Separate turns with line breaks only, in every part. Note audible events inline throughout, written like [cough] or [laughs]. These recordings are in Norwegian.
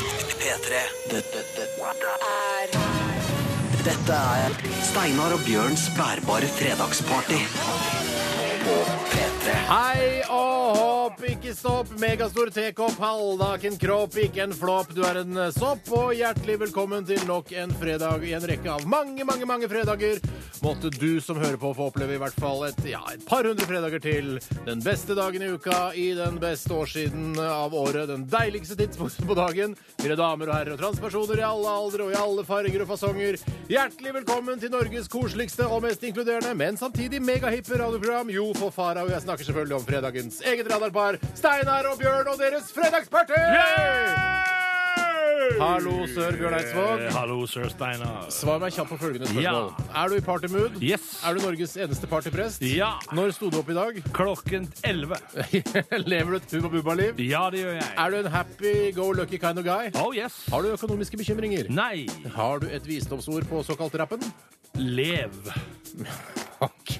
P3. Dette, dette er Dette er Steinar og Bjørns bærbare fredagsparty. På P3.
Hei og hopp, ikke stopp. Megastor tekopp, halvnaken kropp, ikke en flåp. Du er en sopp, og hjertelig velkommen til nok en fredag i en rekke av mange, mange mange fredager. Måtte du som hører på, få oppleve i hvert fall et, ja, et par hundre fredager til. Den beste dagen i uka i den beste årssiden av året. Den deiligste tidspunktet på dagen. Mine damer og herrer og transpersoner i alle aldre og i alle farger og fasonger. Hjertelig velkommen til Norges koseligste og mest inkluderende, men samtidig megahippe radioprogram. Jo, for fara, og jeg snakker selvfølgelig om fredagens eget radarpar, Steinar og Bjørn og deres fredagsparty! Hallo, sør Bjørn Eidsvåg.
Eh, Hallo, sør Steinar.
Svar meg kjapt på følgende spørsmål. Er du i partymood?
Yes.
Er du Norges eneste partyprest?
Ja.
Når sto du opp i dag?
Klokken 11.
[laughs] Lever du et Hubba Bubba-liv?
Ja, det gjør jeg.
Er du en happy go lucky kind of guy?
Oh yes.
Har du økonomiske bekymringer?
Nei.
Har du et visdomsord på såkalt rappen?
Lev.
Ok.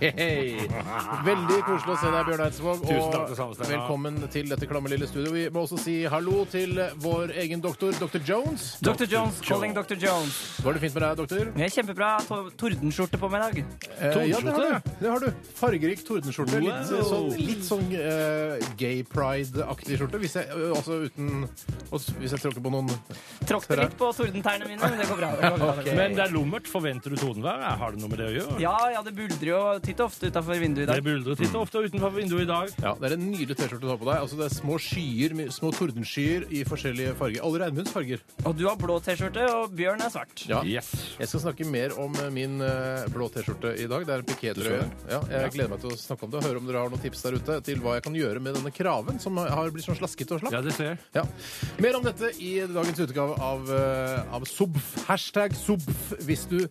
Veldig koselig å se deg, Bjørn Eidsvåg.
Tusen takk, det samme,
og
Steinar.
velkommen til dette klamme lille studio. Vi må også si hallo til vår egen doktor, dr. Jones.
Dr. Jones, calling Dr. Jones.
Var det fint med deg, doktor?
Det er kjempebra to- tordenskjorte på meg i dag.
Eh, ja, det har
Tordenskjorte?
du. Det har du. Fargerik tordenskjorte. Litt eh,
Wow.
sånn, litt sånn eh, gay pride-aktig skjorte. Hvis jeg, eh, altså uten også, Hvis jeg tråkker på noen
Tråkte litt på tordentærne mine, men det går bra. Det går bra.
Ok.
Men det er lummert. Forventer du tordenværet? Har det noe med det å gjøre?
Ja, ja, det buldrer jo titt og ofte utafor vinduet i
Det
dag.
buldrer titt og ofte utenfor vinduet i dag.
ja, Det er en nydelig T-skjorte du har på deg. Altså, det er Små skyer, my- små tordenskyer i forskjellige farger. Alle regnbuens farger.
Og du har blå T-skjorte, og Bjørn er svart.
Ja.
Yes.
Jeg skal snakke mer om eh, min eh, blå T-skjorte i dag. Det er en pikétrøye. Ja, jeg gleder meg til å snakke om det og høre om dere har noen tips der ute til hva jeg kan gjøre med denne kraven som har blitt sånn slaskete og slapp.
Ja, det ser jeg.
Ja. Mer om dette i dagens utgave av, eh, av SOBF. Hashtag SOBF hvis du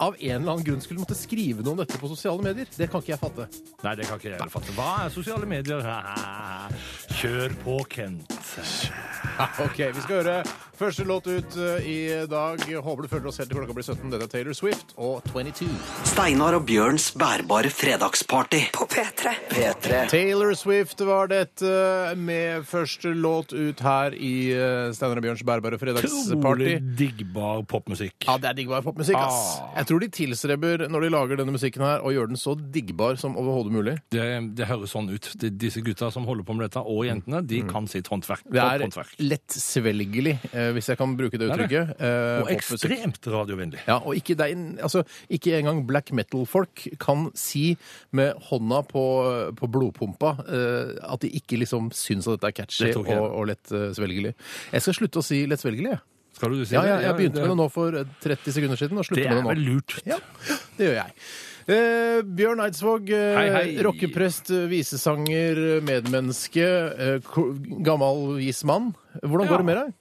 av en eller annen grunn skulle måtte skrive noe om dette på sosiale medier. Det kan ikke jeg fatte.
Nei, det kan ikke jeg heller fatte. Hva er sosiale medier? Kjør på, Kent.
[laughs] Ok, Vi skal høre første låt ut eh, i dag. Håper du følger oss helt til klokka blir 17. Dette er Taylor Swift og 22.
Steinar og Bjørns bærbare fredagsparty. På P3. P3.
Taylor Swift var dette med første låt ut her i eh, Steinar og Bjørns bærbare fredagsparty.
Utrolig diggbar popmusikk.
Ja, det er diggbar popmusikk, ass.
Ah.
Jeg tror de tilstreber, når de lager denne musikken her, å gjøre den så diggbar som overhodet mulig.
Det, det høres sånn ut. De, disse gutta som holder på med dette, og jentene, de kan sitt håndverk.
Mm. Det er
Håndverk.
lettsvelgelig, eh, hvis jeg kan bruke det
er det.
uttrykket. eh,
Og
popmusikk.
ekstremt radiovennlig.
Ja, og ikke, det er en- altså, ikke engang black metal-folk kan si med hånda på, på blodpumpa eh, at de ikke liksom syns at dette er catchy
Det tror
og,
ikke jeg.
og lettsvelgelig. Jeg skal slutte å si lettsvelgelig. jeg.
Skal du si
Ja,
det?
ja, jeg begynte
det-
med det nå for eh, 30 sekunder siden og
Det
slutter
er
med det
vel
nå.
lurt.
Ja, det gjør jeg. Eh, Bjørn Eidsvåg, eh,
Hei, hei.
rockeprest, eh, visesanger, eh, medmenneske, eh, ko- gammel vis mann. Hvordan
Ja.
går det med deg?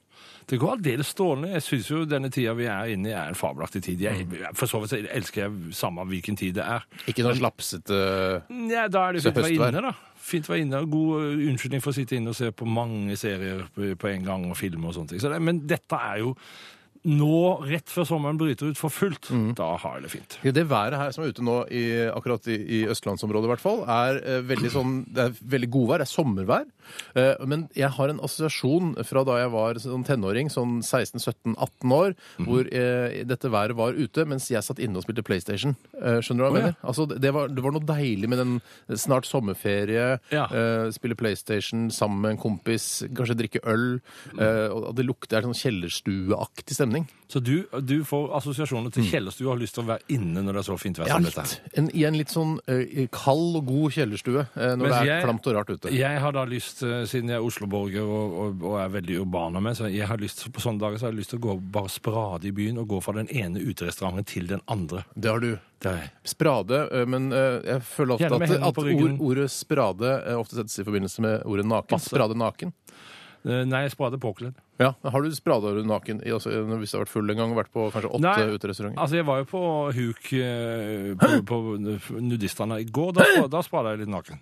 Det går aldeles strålende. Jeg syns jo denne tida vi er inne i, er en fabelaktig tid. Jeg,
Mm.
for så vidt elsker jeg samme hvilken tid det er.
Ikke noe slapsete
Ja, da er det
Så
fint å være
høstvær.
inne, da. Fint å være inne. God ø, unnskyldning for å sitte inne og se på mange serier på, på en gang, og film og sånne ting. Så det, men dette er jo nå, rett før sommeren bryter ut for fullt,
Mm.
da har jeg det fint.
Det været her som er ute nå, i, akkurat i, i østlandsområdet i hvert fall, er eh, veldig sånn Det er veldig godvær. Det er sommervær. Eh, men jeg har en assosiasjon fra da jeg var sånn tenåring, sånn 16-17-18 år,
Mhm.
hvor eh, dette været var ute, mens jeg satt inne og spilte PlayStation. Eh, skjønner du hva jeg
Å, ja.
mener? Altså, det, det var, det var noe deilig med den snart sommerferie,
Ja.
eh, spille PlayStation sammen med en kompis, kanskje drikke øl. eh, og det lukter det er sånn kjellerstueaktig stemning.
Så du, du får assosiasjoner til kjellerstue og har lyst til å være inne når det er så fint vær
Mm. Ja,
som dette. her.
litt. En, I en litt sånn eh, kald og god kjellerstue eh, når
Mens
det er
jeg-
klamt og rart ute.
Jeg har da lyst, eh, siden jeg er Oslo-borger og, og, og er veldig urban av meg, så jeg har lyst, på sånne dager så har jeg lyst til å gå bare sprade i byen og gå fra den ene uterestauranten til den andre.
Det har du.
Det er,
Sprade, eh, men eh, jeg føler ofte
Gjerne med
at,
hendene
at
på
ord,
ryggen.
ordet sprade eh, ofte settes i forbindelse med ordet naken.
Masse.
Sprade naken.
Eh, nei, sprade påkledd.
Ja, Har du sprada ordet naken i, altså, hvis du har vært full en gang og vært på kanskje åtte
Nei.
uterestauranter?
Altså, jeg var jo på huk eh, på, på nudistene i går. Da, spra- da sprada jeg litt naken.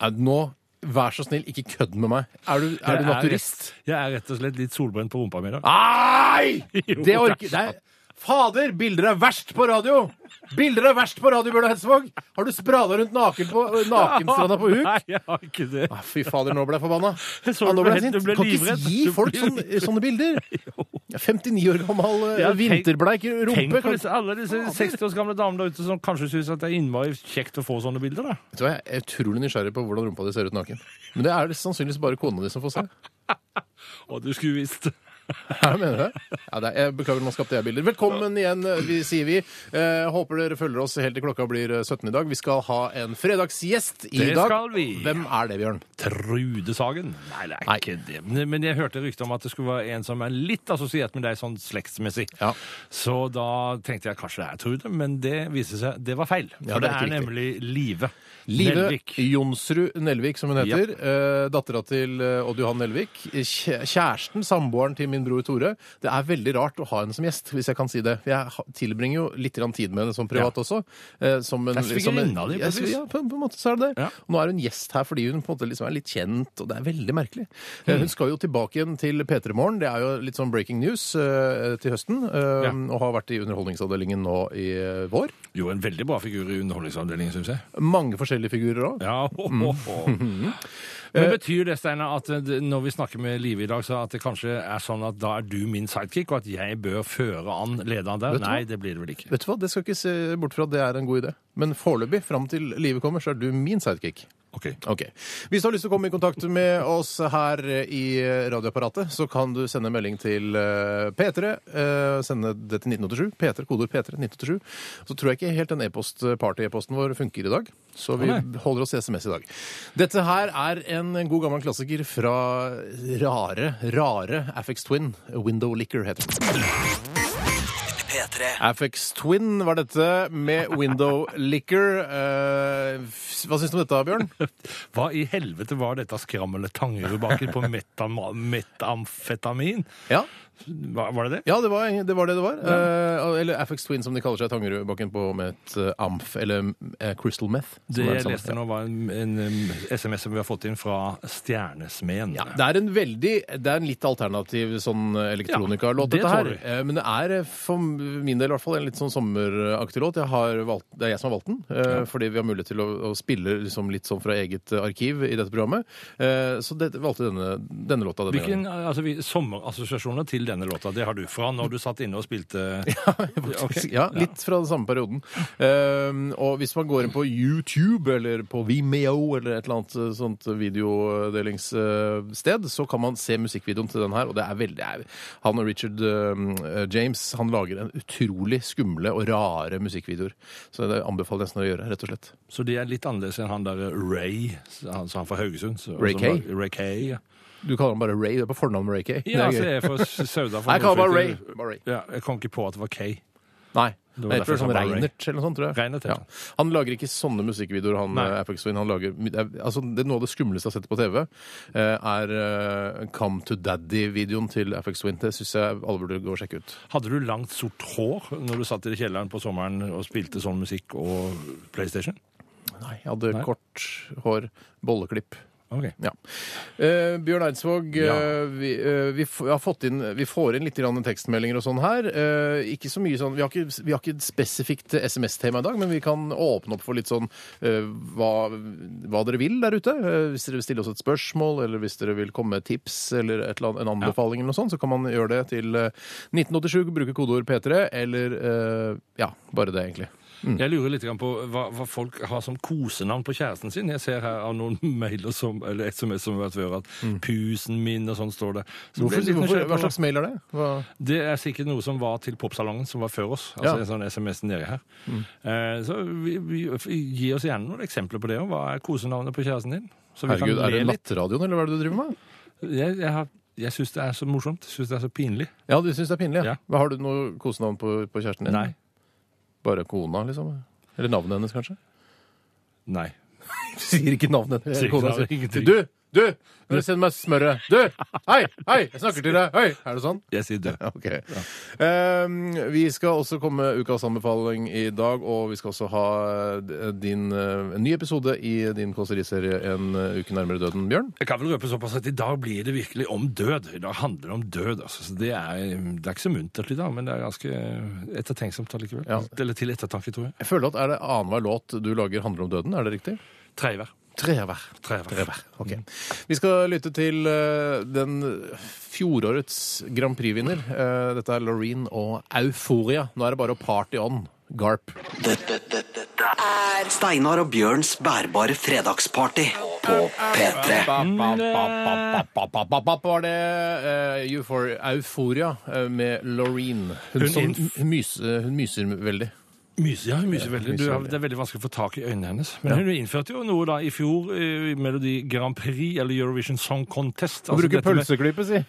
Nei, Nå, vær så snill, ikke kødd med meg. Er du, er
Jeg
du naturist?
rett- Jeg er rett og slett litt solbrent på rumpa mi i dag.
Nei!
[laughs] Jo,
Det orker Nei. Fader, bilder er verst på radio! Bilder er verst på radio, Bjørn Eidsvåg! Har du sprada rundt naken på, nakenstranda på huk?
[laughs] Nei, jeg har ikke det.
Ah, fy fader, nå ble jeg forbanna.
Jeg [laughs] så
Ja, nå
du
ble
ble-
jeg sint.
du ble
Kan ikke
livredd.
gi
Du
folk
ble [laughs]
sånne, sånne bilder! Ja, 59 år gammel eh,
Ja, tenk-
vinterbleik
Tenk
rumpe.
på
Kan,
disse, alle disse 60 års gamle damene der ute som kanskje syns at det er innmari kjekt å få sånne bilder. da.
Vet du hva, jeg er utrolig nysgjerrig på hvordan rumpa di ser ut naken. Men det er det sannsynligvis bare kona di som får se.
Å, du skulle visst.
[laughs] Ja, mener du det? Ja, det er, jeg beklager, nå skapte jeg bilder. Velkommen igjen, vi, sier vi. Eh, håper dere følger oss helt til klokka blir eh, 17 i dag. Vi skal ha en fredagsgjest i
Det
dag.
skal vi.
Hvem er det, Bjørn?
Trude Sagen? Nei, det er
Nei.
ikke det. Men, men jeg hørte rykter om at det skulle være en som er litt assosiert med deg sånn slektsmessig.
Ja.
Så da tenkte jeg kanskje det er Trude, men det viste seg det var feil. For
Ja, det er
det,
ikke
er
riktig.
nemlig Live.
Live
Nelvik.
Jonsrud Nelvik, som hun heter. Eh, Dattera til eh, Odd Johan Nelvik. Kjæ- Kjæresten, samboeren til min bror Tore. Det er veldig rart å ha henne som gjest, hvis jeg kan si det. For Jeg ha- tilbringer jo litt grann tid med henne som privat også. eh, Som en,
Det er
som en-
svigerinna di, på
Ja,
et vis.
Ja, på, på en måte så er det det.
Ja.
Og nå er hun gjest her fordi hun på en måte liksom er litt kjent, og det er veldig merkelig.
Mm.
Eh, Hun skal jo tilbake igjen til P3 Morgen. Det er jo litt sånn breaking news eh, til høsten. eh,
Ja.
Og har vært i Underholdningsavdelingen nå i eh, vår.
Jo, en veldig bra figur i Underholdningsavdelingen, syns jeg.
Mange forskjellige figurer òg.
Ja, ho,
[laughs]
ho, ho. Mm.
Eh,
Men betyr det, Steinar, at det- når vi snakker med Live i dag, så at det kanskje er sånn at da er du min sidekick, og at jeg bør føre an, lede an der?
Vet du hva?
Nei, det blir det vel ikke.
Vet du hva, Det skal ikke se bort fra at det er en god idé. Men foreløpig, fram til livet kommer, så er du min sidekick.
Ok.
Ok. Hvis du har lyst til å komme i kontakt med oss her i radioapparatet, så kan du sende melding til eh, P3. eh, Sende det til 1987. P3, kodeord P3 1987. Så tror jeg ikke helt den e-post, party-e-posten vår funker i dag. Så vi
Å,
holder oss i SMS i dag. Dette her er en god gammel klassiker fra rare, rare Affix Twin. Window Licker heter den.
P3.
Affix Twin var dette, med Window Licker. Eh, f- hva syns du om dette, Bjørn?
[laughs] Hva i helvete var dette skrammelet tangerubaker på metama- metamfetamin?
Ja,
Hva, var det det?
ja det, var, det var det det var. Eh, eller Affix Twin, som de kaller seg i Tangerudbakken på med et eh, amf, eller eh, crystal meth. som
Det
er
jeg
samme.
leste nå var en, en um, SMS som vi har fått inn fra Stjernesmeden.
Ja, det er en veldig, det er en litt alternativ sånn elektronikalåt,
Ja, det
dette her.
tåler vi.
Eh, Men det er eh, for min del i hvert fall en litt sånn sommeraktig låt. Jeg har valgt, det er jeg som har valgt den, eh, fordi vi har mulighet til å, å spille liksom litt sånn fra eget eh, arkiv i dette programmet. Eh, Så det, valgte denne, denne låta denne
Hvilken altså, vi, sommerassosiasjoner til denne låta, det har du fra når du satt inne og spilte
gangen.
Ok.
[laughs] Ja, litt fra den samme perioden. Eh, og hvis man går inn på YouTube eller på Vimeo eller et eller annet eh, sånt videodelingssted, så kan man se musikkvideoen til den her, og det er veldig det er- Han og Richard eh, James han lager en utrolig skumle og rare musikkvideoer. Så det anbefaler jeg nesten å gjøre, rett og slett.
Så de er litt annerledes enn han der Ray, han, han fra Haugesund. Så,
Ray
som
Kay?
var- Ray Kay, ja.
Du kaller han bare Ray, det er på fornavn med Ray Kay. Det er
Ja, altså,
gøy.
jeg er fra Sauda. fra
Nei, [laughs] jeg kaller bare Ray.
Nordfjord.
Bare Ray.
Ja, jeg kom ikke på at det var Kay.
Nei.
Det var
Det
derfor
heter
jeg sa
sånn
bare Ray.
Reinert eller noe sånt, tror jeg.
Reinert, ja.
Han lager ikke sånne musikkvideoer, han
Nei.
eh, Apex Twin. Han lager, det er- altså, det, er noe av det skumleste jeg har sett på TV, eh, er eh, Come to Daddy-videoen til Apex Twin. Det syns jeg alle burde gå og sjekke ut.
Hadde du langt sort hår når du satt i kjelleren på sommeren og spilte sånn musikk og PlayStation?
Nei, jeg hadde kort hår, bolleklipp.
Ok.
Ja. Eh, Bjørn Eidsvåg, eh,
Ja.
vi, eh, vi, f- vi har fått inn, vi får inn litt grann tekstmeldinger og sånn her. Eh, ikke så mye sånn, vi har ikke, vi har ikke et spesifikt SMS-tema i dag, men vi kan åpne opp for litt sånn eh, hva, hva dere vil der ute. Eh, hvis dere vil stille oss et spørsmål, eller hvis dere vil komme med tips eller, et eller annet, en anbefaling eller noe sånt, så kan man gjøre det til eh, 1987, bruke kodeord P3, eller eh, ja, bare det egentlig.
Mm. Jeg lurer litt grann på hva, hva folk har som kosenavn på kjæresten sin. Jeg ser her av noen [laughs] mailer som, eller SMS som har vært før, at 'pusen min' og sånn står det. Så
Mm. Hvorfor,
ble jeg litt
hvorfor,
nysgjerrig
hva
på-
slags mail er det? Hva?
Det er sikkert noe som var til popsalongen, som var før oss. Altså
Ja. Mm.
en sånn SMS nedi her. Eh, så vi, vi, gi oss gjerne noen eksempler på det. og Hva er kosenavnet på kjæresten din? Så vi
Herregud,
kan
er
le
det
litt.
nattradioen, eller hva er det du driver med?
Jeg, jeg, har- jeg syns det er så morsomt. Jeg syns det er så pinlig.
Ja, du syns det er pinlig? Ja.
Ja.
Men Har du noe kosenavn på, på kjæresten din?
Nei.
Bare kona, liksom? Eller navnet hennes, kanskje?
Nei.
[laughs] Du sier ikke navnet hennes.
Sier ikke
Kona
navnet,
sier,
ingenting.
Du! Du! Kan du sende meg smøret? Du! Hei! Hei! Jeg snakker til deg! Hei! Er det sånn?
Jeg sier død.
Ok. Ehm, vi skal også komme med ukas anbefaling i dag, og vi skal også ha eh, din, eh, en ny episode i din kåseriserie En eh, uke nærmere døden, Bjørn.
Jeg kan vel røpe såpass at i dag blir det virkelig om død. I dag handler det om død. Altså. Så det, er, det er ikke så muntert i dag, men det er ganske ettertenksomt allikevel.
Ja.
Eller til ettertanke, tror jeg.
Jeg føler at Er det annenhver låt du lager handler om døden? Er det riktig?
Treiver.
Trevær.
Trevær.
Ok. Vi skal lytte til eh, den fjorårets Grand Prix-vinner. Eh, dette er Loreen og Euphoria. Nå er det bare å party on. Garp.
Dette, dette, dette er Steinar og Bjørns bærbare fredagsparty på P3.
Ba-ba-ba-ba-ba-ba-ba-ba Var det eh, Eufor- Euphoria eh, med Loreen. Hun,
Hun
som
inn-
myser, hun myser veldig.
Myse, ja, hun myser veldig. Du,
myser
har-
veldig.
det er veldig vanskelig å få tak i øynene hennes. Men hun innførte jo noe da i fjor eh, i Melodi Grand Prix, eller Eurovision Song Contest. Altså,
Hun bruker
dette med-
pølseklype, si!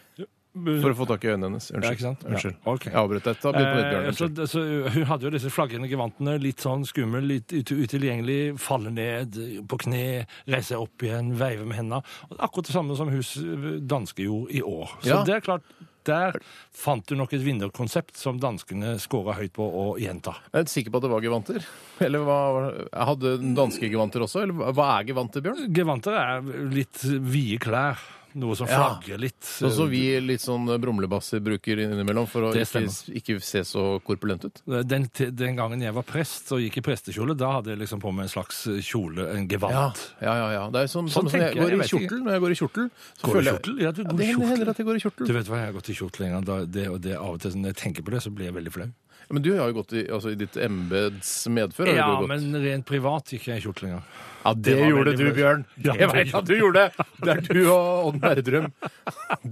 For å få tak i øynene hennes. Unnskyld.
Ja, ikke sant? Ja,
Unnskyld.
ok.
Jeg avbrøt deg. Ta begynn på nytt,
Eh,
Bjørn.
så,
Unnskyld.
så hun hadde jo disse flagrende gevantene, litt sånn skummel, litt ut- utilgjengelig, falle ned på kne, reise seg opp igjen, veive med hendene. Og Akkurat det samme som hun s- eh, danske gjorde i år. Så
Ja.
det er klart, der fant hun nok et vinnerkonsept som danskene skåra høyt på å gjenta.
Jeg er ikke sikker på at det var gevanter. Eller hva, hadde den danske gevanter også? Eller hva er gevanter, Bjørn?
Gevanter er litt vide klær, noe som
Ja.
flagrer litt.
Sånn som vi litt sånn brumlebasser bruker innimellom for å
Det
ikke, ikke se så korpulent ut.
Eh, Den, t- den gangen jeg var prest og gikk i prestekjole, da hadde jeg liksom på meg en slags kjole, en
Ja,
gevant.
ja, ja. ja. Det er som, sånn
Sånn
som
tenker
jeg
jeg,
går
jeg
i
vet ikke.
kjortel. Når jeg går i kjortel, så
Går du
føler jeg
kjortel? Ja, du går
det
i kjortel.
hender at jeg går i
Du
kjortel.
vet hva, jeg har gått i kjortel en gang. Da, det, og det, av og til når jeg tenker på det, så blir jeg veldig flau.
Men du har jo gått i, altså, i ditt embets medfør. har
Ja,
du gått.
men rent privat gikk jeg i kjortel en gang.
ja, det,
var
gjorde
veldig
du,
bra.
Bjørn.
Ja,
jeg
det
veit at du gjorde det! Det er du og Odd Nerdrum.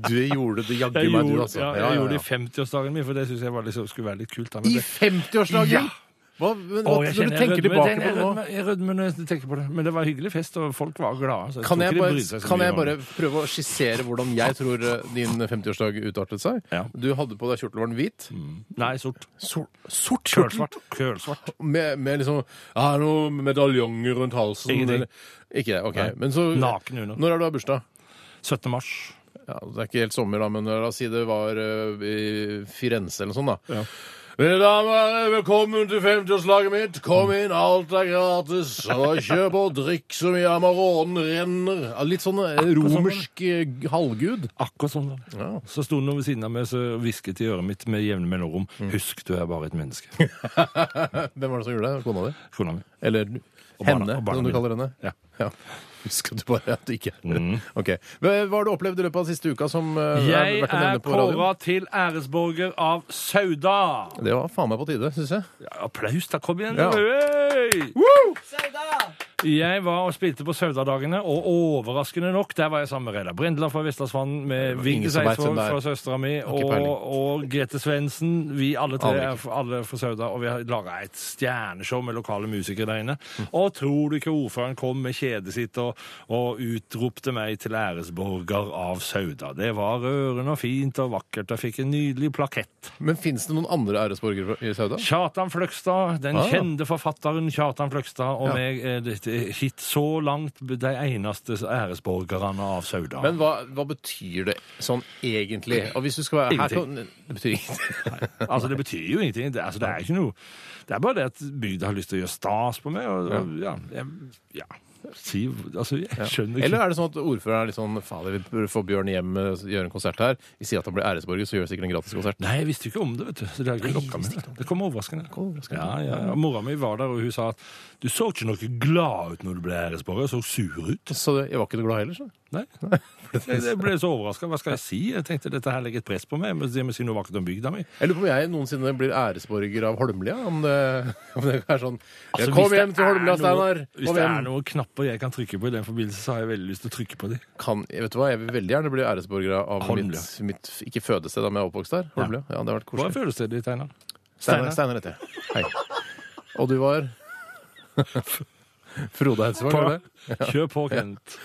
Du gjorde det jaggu
Jeg
meg, du,
gjorde,
altså.
ja, jeg
Ja, ja,
gjorde det
ja.
i 50-årsdagen min, for det syns jeg var liksom, skulle være litt kult. Da, men
I
det,
50-årsdagen?
Ja.
Hva, men, hva,
Å,
så
jeg
du
kjenner jeg
tenker
rødmer.
tilbake
Den-
på det
jeg
nå?
rødmer- Jeg rødmer når jeg tenker på det. Men det var hyggelig fest, og folk var glade. Så
Kan
tror
jeg,
ikke de
bare,
brydde seg så
kan
mye
jeg
om
bare
det.
prøve å skissere hvordan jeg tror eh, din 50-årsdag utartet seg?
Ja. Mm.
Du hadde på deg kjortel, var den hvit?
Nei, sort.
Sort, sort
Kølsvart. Kølsvart.
Med, med liksom ah, noe medaljonger rundt halsen?
Ingenting.
eller- Ikke det, ok.
Nei.
Men så,
Naken under.
Når er det du har bursdag?
17. mars.
Ja, det er ikke helt sommer, da, men la oss si det var eh, i Firenze eller noe sånt. da.
Ja.
Mine damer og herrer, velkommen til 50-årslaget mitt. Kom
Mm.
inn, alt er gratis. Og kjøp og drikk så mye Amaronen renner. Ja, Litt sånn eh, romersk eh, halvgud.
Akkurat sånn. var det.
Ja.
Så sto noen ved siden av meg og hvisket i øret mitt med jevne mellomrom.
Mm.
Husk, du er bare et menneske.
[laughs] Hvem var det som gjorde det? Kona di?
Kona
[laughs]
mi.
Eller
barna-
henne,
og barna
som du
mine.
kaller henne?
Ja.
Husk at du bare at du ikke er
Mm.
Ok. Hva hva har du opplevd i løpet av den siste uka som eh, er
Jeg
verdt å
er
nevne på radioen?
kåra til æresborger av Sauda.
Det var faen meg på tide, syns jeg.
Ja, applaus, da. Kom igjen.
Ja.
Øy!
Sauda!
Jeg var og spilte på Sauda-dagene, og overraskende nok, der var jeg sammen med Reidar Brindla fra Vestlandsvann, med Vigdis
som vet hvem
Eidsvåg
det er.
fra søstera mi, og,
peiling.
og Grete Svendsen. Vi alle tre
Aner
er fra- alle fra Sauda, og vi har laga et stjerneshow med lokale musikere der inne.
Hm.
Og tror du ikke ordføreren kom med kjedet sitt og, og utropte meg til æresborger av Sauda? Det var rørende og fint og vakkert. Jeg fikk en nydelig plakett.
Men fins det noen andre æresborgere fra- i Sauda?
Kjartan Fløgstad, den
Ah.
kjente forfatteren Kjartan Fløgstad, og
Ja.
meg er dette hit så langt de eneste æresborgerne av Sauda.
Men hva, hva betyr det sånn egentlig? Og hvis du skal være her, så- Det betyr ingenting.
altså, det betyr jo ingenting. Det, altså, det er ikke noe Det er bare det at bygda har lyst til å gjøre stas på meg, og, og ja, jeg, ja. Si, altså, jeg skjønner
Eller
ikke
er det sånn at ordføreren er litt sånn Fader, vi bør få Bjørn hjem, eh, gjøre en konsert her. Vi sier at han blir æresborger, så gjør vi sikkert en gratis konsert.
Nei, jeg visste jo ikke om det, vet du. Så det har ikke lokka meg. Det kom overraskende. Ja, ja, ja. Mora mi var der, og hun sa at du så ikke noe glad ut når du ble æresborger, så sur ut.
Så jeg var ikke noe glad heller, så. [laughs]
Nei. Jeg jeg ble så overraska. Hva skal jeg si? Jeg tenkte dette her legger et press på meg. Men jeg må si noe vakkert om bygda mi.
Jeg lurer på om jeg noensinne blir æresborger av Holmlia. Om det, [laughs] om det er sånn
Altså,
jeg
hvis
Kom
det
hjem til
er
Holmlia,
noe-
Steinar!
Hvis
Kom
det er
hjem!
noen knapper jeg kan trykke på i den forbindelse, så har jeg veldig lyst til å trykke på de.
Kan, jeg vet du hva, jeg vil veldig gjerne bli æresborger av
Holmlia.
mitt, mitt ikke fødested, da, men jeg er oppvokst der. Holmlia. Ja, det har vært
Hva er
koselig.
følelsesstedet ditt, Einar?
Steinar Steinar heter jeg. Hei. Og du var [laughs] Frode Eidsvåg, var det? det?
Kjør på, Kent.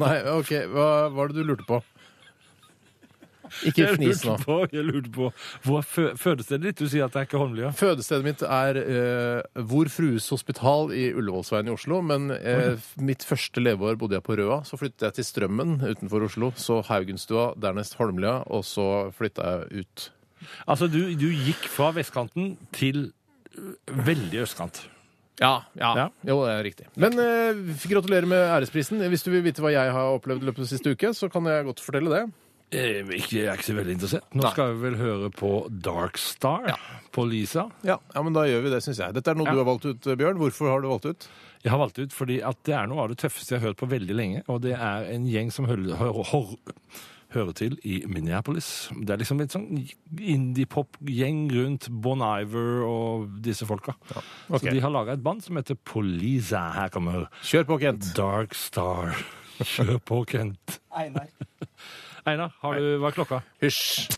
Nei, ok, hva var det du lurte på? Ikke
Jeg
fnis nå.
lurte på, jeg lurte på Hvor er fø- fødestedet ditt? Du sier at det er ikke Holmlia.
Fødestedet mitt er eh, Vår Frues Hospital i Ullevålsveien i Oslo. Men eh, mitt første leveår bodde jeg på Røa. Så flyttet jeg til Strømmen utenfor Oslo. Så Haugenstua, dernest Holmlia, og så flytta jeg ut.
Altså, du, du gikk fra vestkanten til øh, veldig østkant.
Ja, ja. Jo, det er riktig. Men eh, gratulerer med æresprisen. Hvis du vil vite hva jeg har opplevd i løpet av siste uke, så kan jeg godt fortelle det.
Eh, ikke- Jeg er ikke så veldig interessert. Nå
Nei.
skal vi vel høre på Dark Star på Lisa.
Ja, ja, men da gjør vi det, syns jeg. Dette er noe
Ja.
du har valgt ut, eh, Bjørn. Hvorfor har du valgt ut?
Jeg har valgt ut fordi at det er noe av det tøffeste jeg har hørt på veldig lenge, og det er en gjeng som hører, hører, hører, hører til i Minneapolis. Det er liksom et sånn indie-pop-gjeng rundt Bon Iver og disse folka.
ok.
Så de har laga et band som heter Poliza. Her kommer
Kjør på, Kent.
Dark Star. Kjør på, Kent.
Einar.
[laughs] Einar, har du, hva er klokka?
Hysj.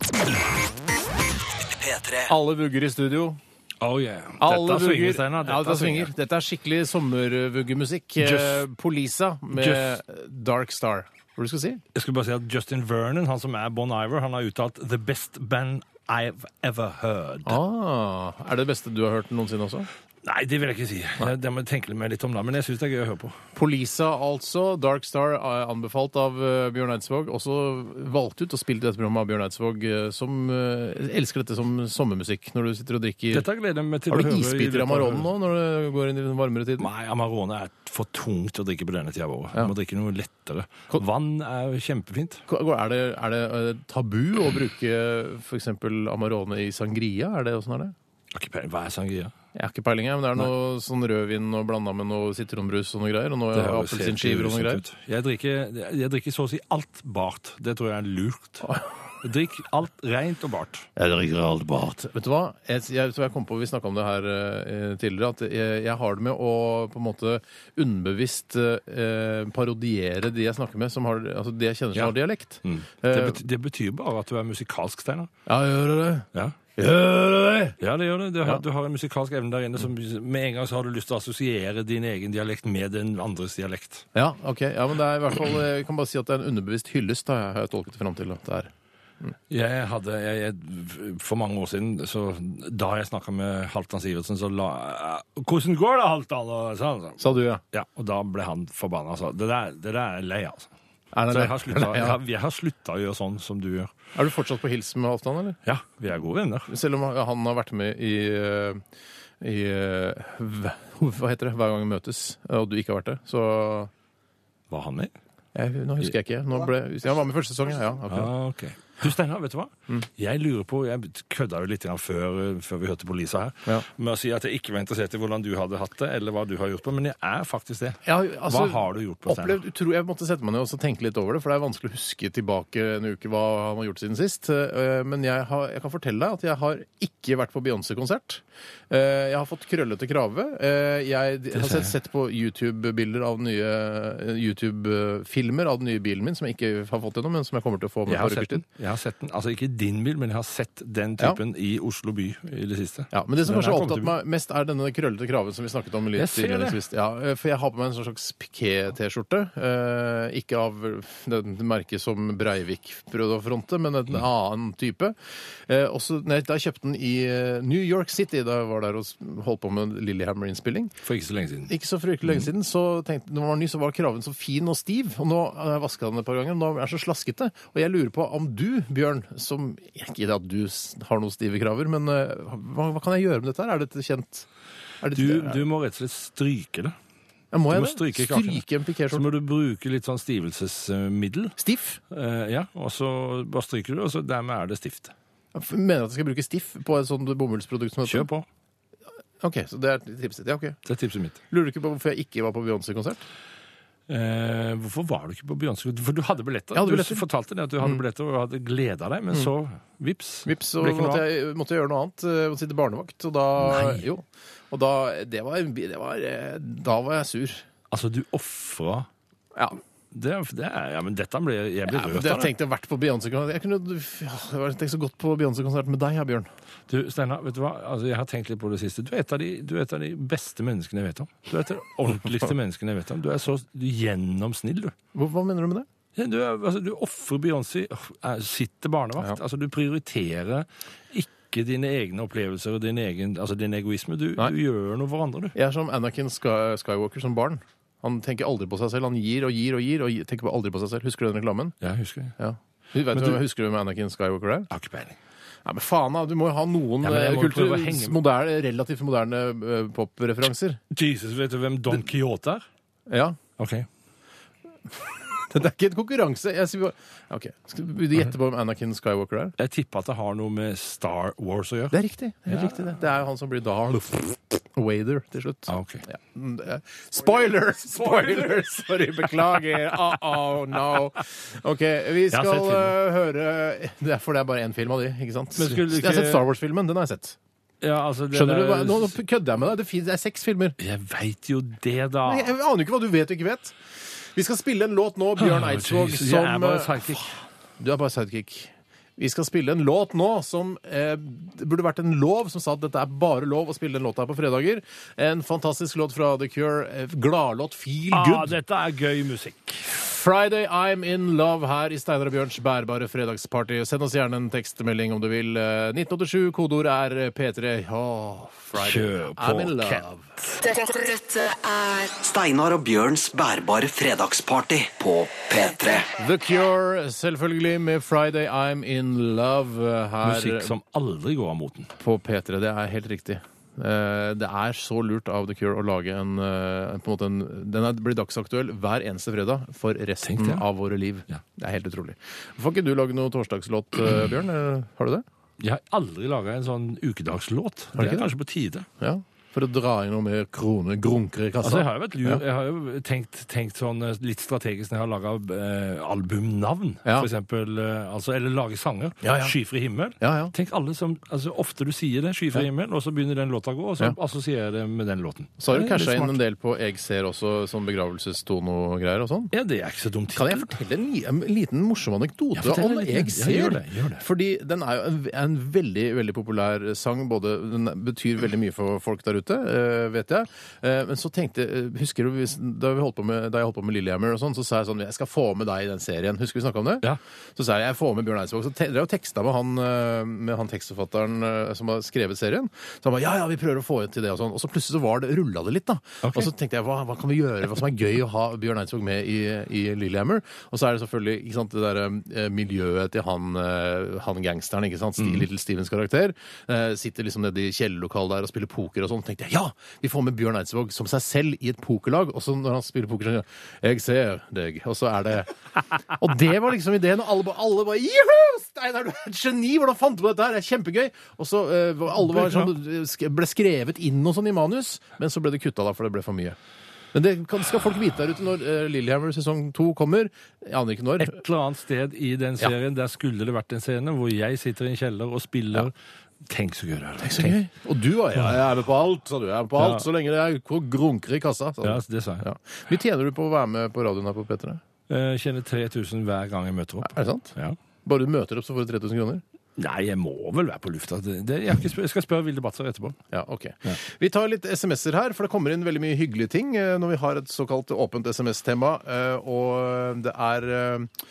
P3.
Alle vugger i studio.
Oh yeah.
Alle
Dette svinger,
vugger.
Steinar.
ja, dette svinger. Dette er skikkelig sommervuggemusikk. Eh, Polisa med
Just.
Dark Star. Hva er det du skal si?
Jeg skulle bare si at Justin Vernon, han som er Bon Iver, han har uttalt The best band I've ever heard.
Ah, er det det beste du har hørt noensinne også?
Nei, det vil jeg ikke si. Jeg, det må jeg tenke meg litt om da, men jeg syns det er gøy å høre på.
Polisa, altså. Dark Star, eh, anbefalt av eh, Bjørn Eidsvåg. Også valgt ut og spilt i dette programmet av Bjørn Eidsvåg, eh, som eh, elsker dette som sommermusikk når du sitter og drikker.
Dette gleder jeg meg til
Har
å
du
høre. i løpet
isbiter
av-
av Amarone nå når det går inn i den varmere tiden?
Nei, Amarone er for tungt å drikke på denne tida av året.
Ja.
Du må drikke noe lettere.
Ko-
Vann er kjempefint.
Er det, er det eh, tabu å bruke f.eks. Amarone i sangria? Er det åssen er det?
Jeg har ikke peiling. Hva er sangria?
Jeg har ikke peiling, jeg, men det er noe sånn rødvin og blanda med noe sitronbrus og noe greier. Og noe
Det høres helt
appelsinskiver og noe
grusomt
greier.
ut. Jeg drikker, jeg drikker så å si alt bart. Det tror jeg er lurt. Drikk alt rent og bart.
Jeg drikker alt bart. Vet du hva? Jeg, jeg tror jeg kom på, Vi snakka om det her eh, tidligere, at jeg, jeg har det med å på en måte underbevisst eh, parodiere de jeg snakker med, som har, altså de jeg kjenner som
Ja. Mm.
har dialekt.
Det,
Eh,
bet, det betyr bare at du er musikalsk, Steinar.
ja, gjør du det?
Ja.
Gjør du det?
Ja, det gjør det. Du har,
Ja. Mm.
du har en musikalsk evne der inne som med en gang så har du lyst til å assosiere din egen dialekt med den andres dialekt.
Ja, ok. Ja, men det er i hvert fall, jeg kan bare si at det er en underbevisst hyllest, da, har jeg tolket det fram til. at det er.
Jeg hadde, jeg, jeg, For mange år siden, så, da jeg snakka med Halvdan Sivertsen, så la jeg 'Hvordan går det, Halvdan?' Og, sa han sånn.
Sa du, ja.
Ja, og da ble han forbanna og sa 'Det der, det der er lei', altså.
Er, det
Så jeg har
det?
slutta
Ja.
jeg har- jeg har slutta å gjøre sånn som du gjør.
er du fortsatt på hils med Halvdan, eller?
Ja, vi er gode venner.
Selv om han har vært med i, eh, i eh, hva hva heter det? Hver gang vi møtes, eh, og du ikke har vært det, så
Var han med?
jeg, Nå husker jeg ikke. Nå ble, jeg var med første sesong, ja. ja, Mm. akkurat.
Ah, ok. Du, Steinar, vet du hva? Jeg lurer på, jeg kødda jo litt grann før, før vi hørte på Lisa her,
Ja.
med å si at jeg ikke var interessert i hvordan du hadde hatt det, eller hva du har gjort på, men jeg er faktisk det.
Ja, altså,
hva har du gjort på, Steinar?
opplevd, utro- jeg måtte sette meg ned og så tenke litt over det, for det er vanskelig å huske tilbake en uke hva han har gjort siden sist. Eh, Men jeg, har, jeg kan fortelle deg at jeg har ikke vært på Beyoncé-konsert. Eh, Jeg har fått krøllete krave. Eh, Jeg d- har sett, sett på YouTube-bilder av den nye eh, YouTube-filmer av den nye bilen min, som jeg ikke har fått ennå, men som jeg kommer til å få med
Jeg har,
et par
sett
uker
den.
til.
jeg har sett den. Altså ikke din bil, men jeg har sett den
Ja.
typen i Oslo by i det siste.
Ja, men det som
Den
kanskje
er
har
kommet
opptatt meg mest, er denne krøllete kraven som vi snakket om
Jeg
litt
ser det.
innledningsvis. Ja, eh, for jeg har på meg en slags piké-T-skjorte. eh, Ikke av det merket som Breivik prøvde å fronte, men
Mm.
en annen type. Eh, Også, nei, da jeg kjøpte den i eh, New York City, da jeg var der og s- holdt på med Lillehammer-innspilling.
For ikke så lenge siden.
Ikke så fryktelig
Mm.
lenge siden, så tenkte når den var ny, så var kraven så fin og stiv. Og nå har jeg vaska den et par ganger, og nå er den så slaskete. Og jeg lurer på om du, Bjørn, som Ikke at du s- har noen stive kraver, men eh, hva, hva kan jeg gjøre med dette her? Er dette kjent? Er dette,
Du, du må rett og slett stryke det.
Ja, må
du
jeg
må
det?
stryke
stryke,
kraken.
en
Så
pikéskjorte?
må du bruke litt sånn stivelsesmiddel.
Stiff?
Eh, ja, og så bare stryker du, og så dermed er det stift.
Jeg f- mener at jeg skal bruke stiff på et sånt bomullsprodukt som dette?
Kjør på.
Ok, så det er tipset. Ja, ok.
Det er tipset mitt.
Lurer du ikke på hvorfor jeg ikke var på Beyoncé-konsert?
Eh, hvorfor var du ikke på Beyoncé? For du hadde billetter.
Jeg hadde billetter. Mm.
Du fortalte det at du hadde billetter og hadde gleda deg, men så vips.
Vips, så
Ble ikke noe
måtte
av.
jeg, måtte jeg gjøre noe annet. eh, Måtte sitte barnevakt. Og da, jo, og da, det var, det var, eh, da var jeg sur.
Altså, du ofra
Ja.
det, er- det er, ja, men dette ble, Jeg ble
men
rørt
Jeg
av det.
tenkte vært på Beyoncé-konsert. Jeg kunne ja, jeg har tenkt så godt på Beyoncé-konsert med deg, ja, Bjørn.
Du, Steinar, vet du hva? Altså, jeg har tenkt litt på det siste. Du er et av de, du er et av de beste menneskene jeg vet om. Du er et av de
[laughs]
ordentligste menneskene jeg vet om. Du er så du er gjennomsnill, du.
Hva, hva mener du med det?
Ja, Du, er- altså, du ofrer Beyoncé, er- sitter barnevakt. Altså, du prioriterer ikke dine egne opplevelser og din, egen, altså, din egoisme. Du,
Nei.
du gjør noe for andre, du.
Jeg er som Anakin Sky- Skywalker som barn. Han tenker aldri på seg selv. Han gir og gir og gir og gir- tenker på aldri på seg selv. Husker du den reklamen?
Ja, jeg husker det.
Ja. Du vet
Men
hvem-
du-
Husker du hvem Anakin Skywalker er?
Jeg har ikke peiling.
Nei, men faen, da, du må jo ha noen
Ja, men jeg
eh,
må
kultur,
prøve å henge med.
moderne, relativt moderne eh, popreferanser.
Jesus, vet du hvem Don Quijote er?
Ja.
Ok.
[laughs] Dette er ikke en konkurranse. Jeg sier bare OK. Skal du gjette på hvem Anakin Skywalker er?
Jeg tipper at det har noe med Star Wars å gjøre.
Det er riktig. Det er, helt riktig det. Det er jo han som blir Darth Wader til slutt.
Ah, ok.
Ja. Mm, det er- Spoiler! [laughs] Spoiler! Sorry, beklager. Oh, oh, no. OK, vi
har
skal
sett
eh, høre Det er for det er bare én film av de, ikke sant?
Men skulle du
Jeg har
ikke-
sett Star Wars-filmen. Den har jeg sett.
Ja, altså, det
Skjønner du? hva-
der-
Nå nå kødder jeg med deg. Det finnes- Det er seks filmer.
Jeg veit jo det, da.
Nei, Jeg aner jo ikke hva du vet og ikke vet. Vi skal spille en låt nå, Bjørn
Åh,
Eidsvåg,
Jesus, Jeg er
som
bare
eh,
psychic.
Du er bare sidekick. Vi skal spille en låt nå som eh, Det burde vært en lov som sa at dette er bare lov å spille den låta her på fredager. En fantastisk låt fra The Cure. eh, Gladlåt Feel
Ah,
Good.
dette er gøy musikk.
Friday I'm In Love her i Steinar og Bjørns bærbare fredagsparty. Send oss gjerne en tekstmelding om du vil. Eh, 1987, kodeord er P3. Åh, Friday
Kjør på,
I'm In Love.
Dette, dette er
Steinar og Bjørns bærbare fredagsparty på P3.
The Cure, selvfølgelig, med Friday I'm In Love eh, her
Musikk som aldri går av moten.
på P3. Det er helt riktig. Eh, Det er så lurt av The Cure å lage en, eh, på en, måte en Den er- blir dagsaktuell hver eneste fredag for
Tenk
resten
det.
av våre liv.
Ja.
Det er helt utrolig. Får ikke du lage noe torsdagslåt,
[clears throat]
eh, Bjørn? Eh, Har du det?
Jeg har aldri laga en sånn ukedagslåt. Det
ikke
er
det?
kanskje på tide.
Ja? For å dra inn noe mer kroner, grunker i
Altså,
kassa?
jeg har jo, vært lur. Jeg har jo tenkt, tenkt sånn eh, litt strategisk når jeg har laga eh, albumnavn,
Ja.
for eksempel. Eh, altså, eller lage sanger.
Ja, ja.
Skyfri himmel.
Ja, ja.
Tenk alle som, altså Ofte du sier det, skyfri himmel, og så begynner den låta å gå, og så
Ja.
assosierer jeg det med den låten.
Så har du
Det er litt
casha inn
smart.
en del på Eg ser også, sånn begravelsestono og greier og sånn?
Ja, det er ikke så dumt.
Kan jeg fortelle en, li- en liten morsom anekdote
Ja, fortell
om
en liten-
Jeg
ja,
ser?
gjør det, gjør det.
Fordi den er jo en, en veldig veldig populær sang. både Den betyr veldig mye for folk der ute, eh, vet jeg. Eh, men så tenkte eh, Husker du hvis, da, vi holdt på med, da jeg holdt på med Lillehammer, og sånn, så sa jeg sånn Jeg skal få med deg i den serien. Husker vi snakka om det?
Ja.
Så sa jeg jeg får med Bjørn Eidsvåg. Så te- drev jeg og teksta med han, eh, med han tekstforfatteren eh, som har skrevet serien. Så han ba ja, ja, vi prøver å få til det og sånn. Og så plutselig så var det, rulla det litt, da.
Ok.
Og så tenkte jeg hva, hva kan vi gjøre, hva som er gøy å ha Bjørn Eidsvåg med i, i Lillehammer? Og så er det selvfølgelig ikke sant, det der, eh, miljøet til han, eh, han gangsteren, ikke sant? Stil, Little Stevens karakter. Eh, sitter liksom nede i kjellerlokalet der og spiller poker og sånn. tenkte jeg ja, vi får med Bjørn Eidsvåg som seg selv i et pokerlag. Og så når han spiller poker, så sier han jeg ser deg, og så er det Og det var liksom ideen, og alle, ba- alle bare juhu! Steinar, du er et geni! Hvordan fant du på dette her? Det er kjempegøy! Og så eh, var- alle var sånn, sk- ble skrevet inn og sånn i manus, men så ble det kutta da, for det ble for mye. Men det kan, skal folk vite der ute når eh, Lillehammer sesong to kommer. Jeg aner ikke når.
Et eller annet sted i den serien, der skulle det vært en scene hvor jeg sitter i en kjeller og spiller Tenk så gøy det er.
Så gøy. Og du var ja, jeg er med på alt, sa du. Jeg er med på alt,
Ja.
så lenge det er hvor grunker i kassa. sa du.
Ja, det sa jeg.
Ja. Mye tjener du på å være med på radioen her på P3?
Jeg kjenner 3000 hver gang jeg møter opp.
Er det sant?
Ja.
Bare du møter opp, så får du 3000 kroner?
Nei, jeg må vel være på lufta. Det, det, jeg, har ikke spør, jeg skal spørre Vilde Batzer etterpå.
Ja, ok. Vi tar litt SMS-er her, for det kommer inn veldig mye hyggelige ting eh, når vi har et såkalt åpent SMS-tema, eh, og det er eh,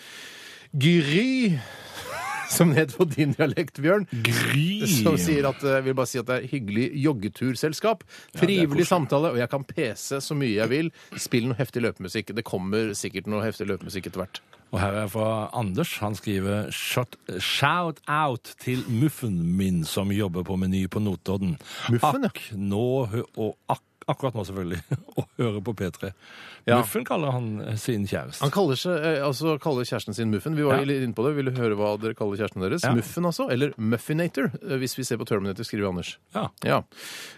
Gry [laughs] som det heter på din dialekt, Bjørn.
Gry!
Som sier at eh, vil bare si at det er hyggelig joggeturselskap. Trivelig samtale, og jeg kan pese så mye jeg vil. Spill noe heftig løpemusikk. Det kommer sikkert noe heftig løpemusikk etter hvert.
Og her er fra Anders. Han skriver Shot, Shout out til muffen min som jobber på Meny på Notodden.
Muffen, ja.
akk, nå, hø- og akk, akkurat nå, selvfølgelig. [laughs] Og hører på P3.
Ja.
Muffen kaller han eh, sin kjæreste.
Han kaller, seg, eh, altså, kaller kjæresten sin Muffen. Vi var
Ja.
litt inne på det. Vil du høre hva dere kaller kjæresten deres?
Ja.
Muffen, altså? Eller Muffinator, eh, hvis vi ser på Terminator, skriver Anders.
Ja.
Ja.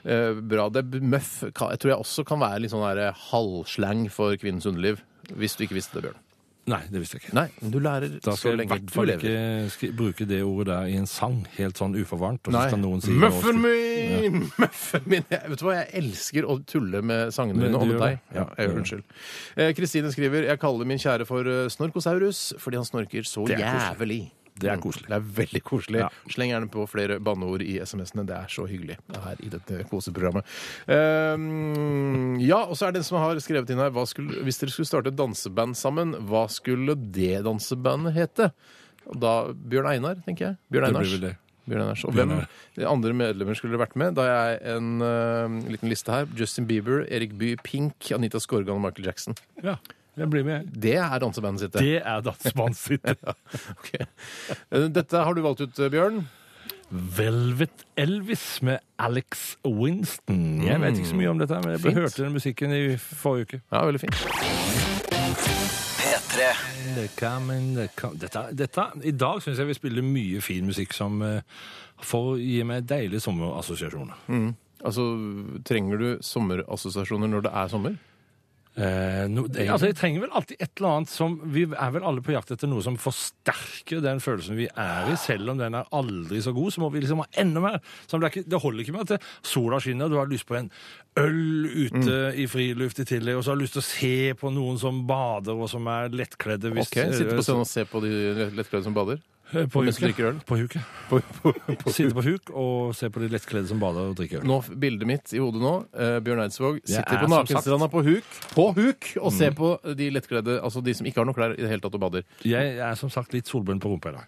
Eh, bra. Det er Muff ka- jeg tror jeg også kan være litt sånn der, eh, halvslang for kvinnens underliv. Hvis du ikke visste det, Bjørn.
Nei, det visste jeg ikke.
Nei, men du lærer
Da
så
skal jeg i
lenge
hvert
du
fall
lever.
ikke skri- bruke det ordet der i en sang, helt sånn uforvarmt. Og så
Nei.
skal noen si det og
Muffen
skru-
min! [laughs] Muffen min! Jeg, vet du hva, jeg elsker å tulle med sangene
Men
dine og med
du gjør
deg.
det.
Ja, jeg gjør Unnskyld. Eh, Kristine skriver jeg kaller min kjære for eh, Snorkosaurus fordi han snorker så
Det er koselig.
jævlig. Mm,
Det er koselig.
Det er veldig koselig.
Ja.
Sleng gjerne på flere banneord i SMS-ene. Det er så hyggelig her i dette koseprogrammet. Ehm, ja, og så er det en som har skrevet inn her hva skulle, Hvis dere skulle starte et danseband sammen, hva skulle det dansebandet hete? Og Da Bjørn Einar, tenker jeg. Bjørn
Det
Einars.
blir vel det.
Bjørn Einars. Og
Bjørn
hvem
Einar.
de andre medlemmer skulle vært med? Da har jeg en eh, liten liste her. Justin Bieber, Erik Bye, Pink, Anita Skorgan og Michael Jackson.
Ja, jeg blir med, jeg.
Det er dansebandet sitt. det.
Det er dansmannen [laughs] sitt.
[laughs] Ok. Eh, Dette har du valgt ut, eh, Bjørn.
Velvet Elvis med Alex Winston. Jeg vet ikke så mye om dette, men jeg
Fint.
hørte den musikken i forrige uke.
Ja, veldig fint.
P3.
The Common, the Com- Dette, dette, I dag syns jeg vi spiller mye fin musikk som eh, får gi meg deilige sommerassosiasjoner.
Altså, Trenger du sommerassosiasjoner når det er sommer?
Eh, no, det, altså, jeg trenger vel alltid et eller annet som Vi er vel alle på jakt etter noe som forsterker den følelsen vi er i. Selv om den er aldri så god, så må vi liksom ha enda mer. Så det, er ikke, det holder ikke med at det, sola skinner, og du har lyst på en øl ute
Mm.
i friluft i tillegg, og så har du lyst til å se på noen som bader, og som er lettkledde. hvis-
Ok, Sitte på scenen og se på de lettkledde som bader?
Eh, På
mens du drikker
huket.
øl?
På
[laughs]
huket. Sitte på huk og se på de lettkledde som bader og drikker øl.
Nå, Bildet mitt i hodet nå, eh, Bjørn Eidsvåg sitter
er
på
som
nakenstranda på huk på huk, og
Mm.
ser på de lettkledde, altså de som ikke har noe klær i det hele tatt og bader.
Jeg er som sagt litt solbrun på rumpa i dag.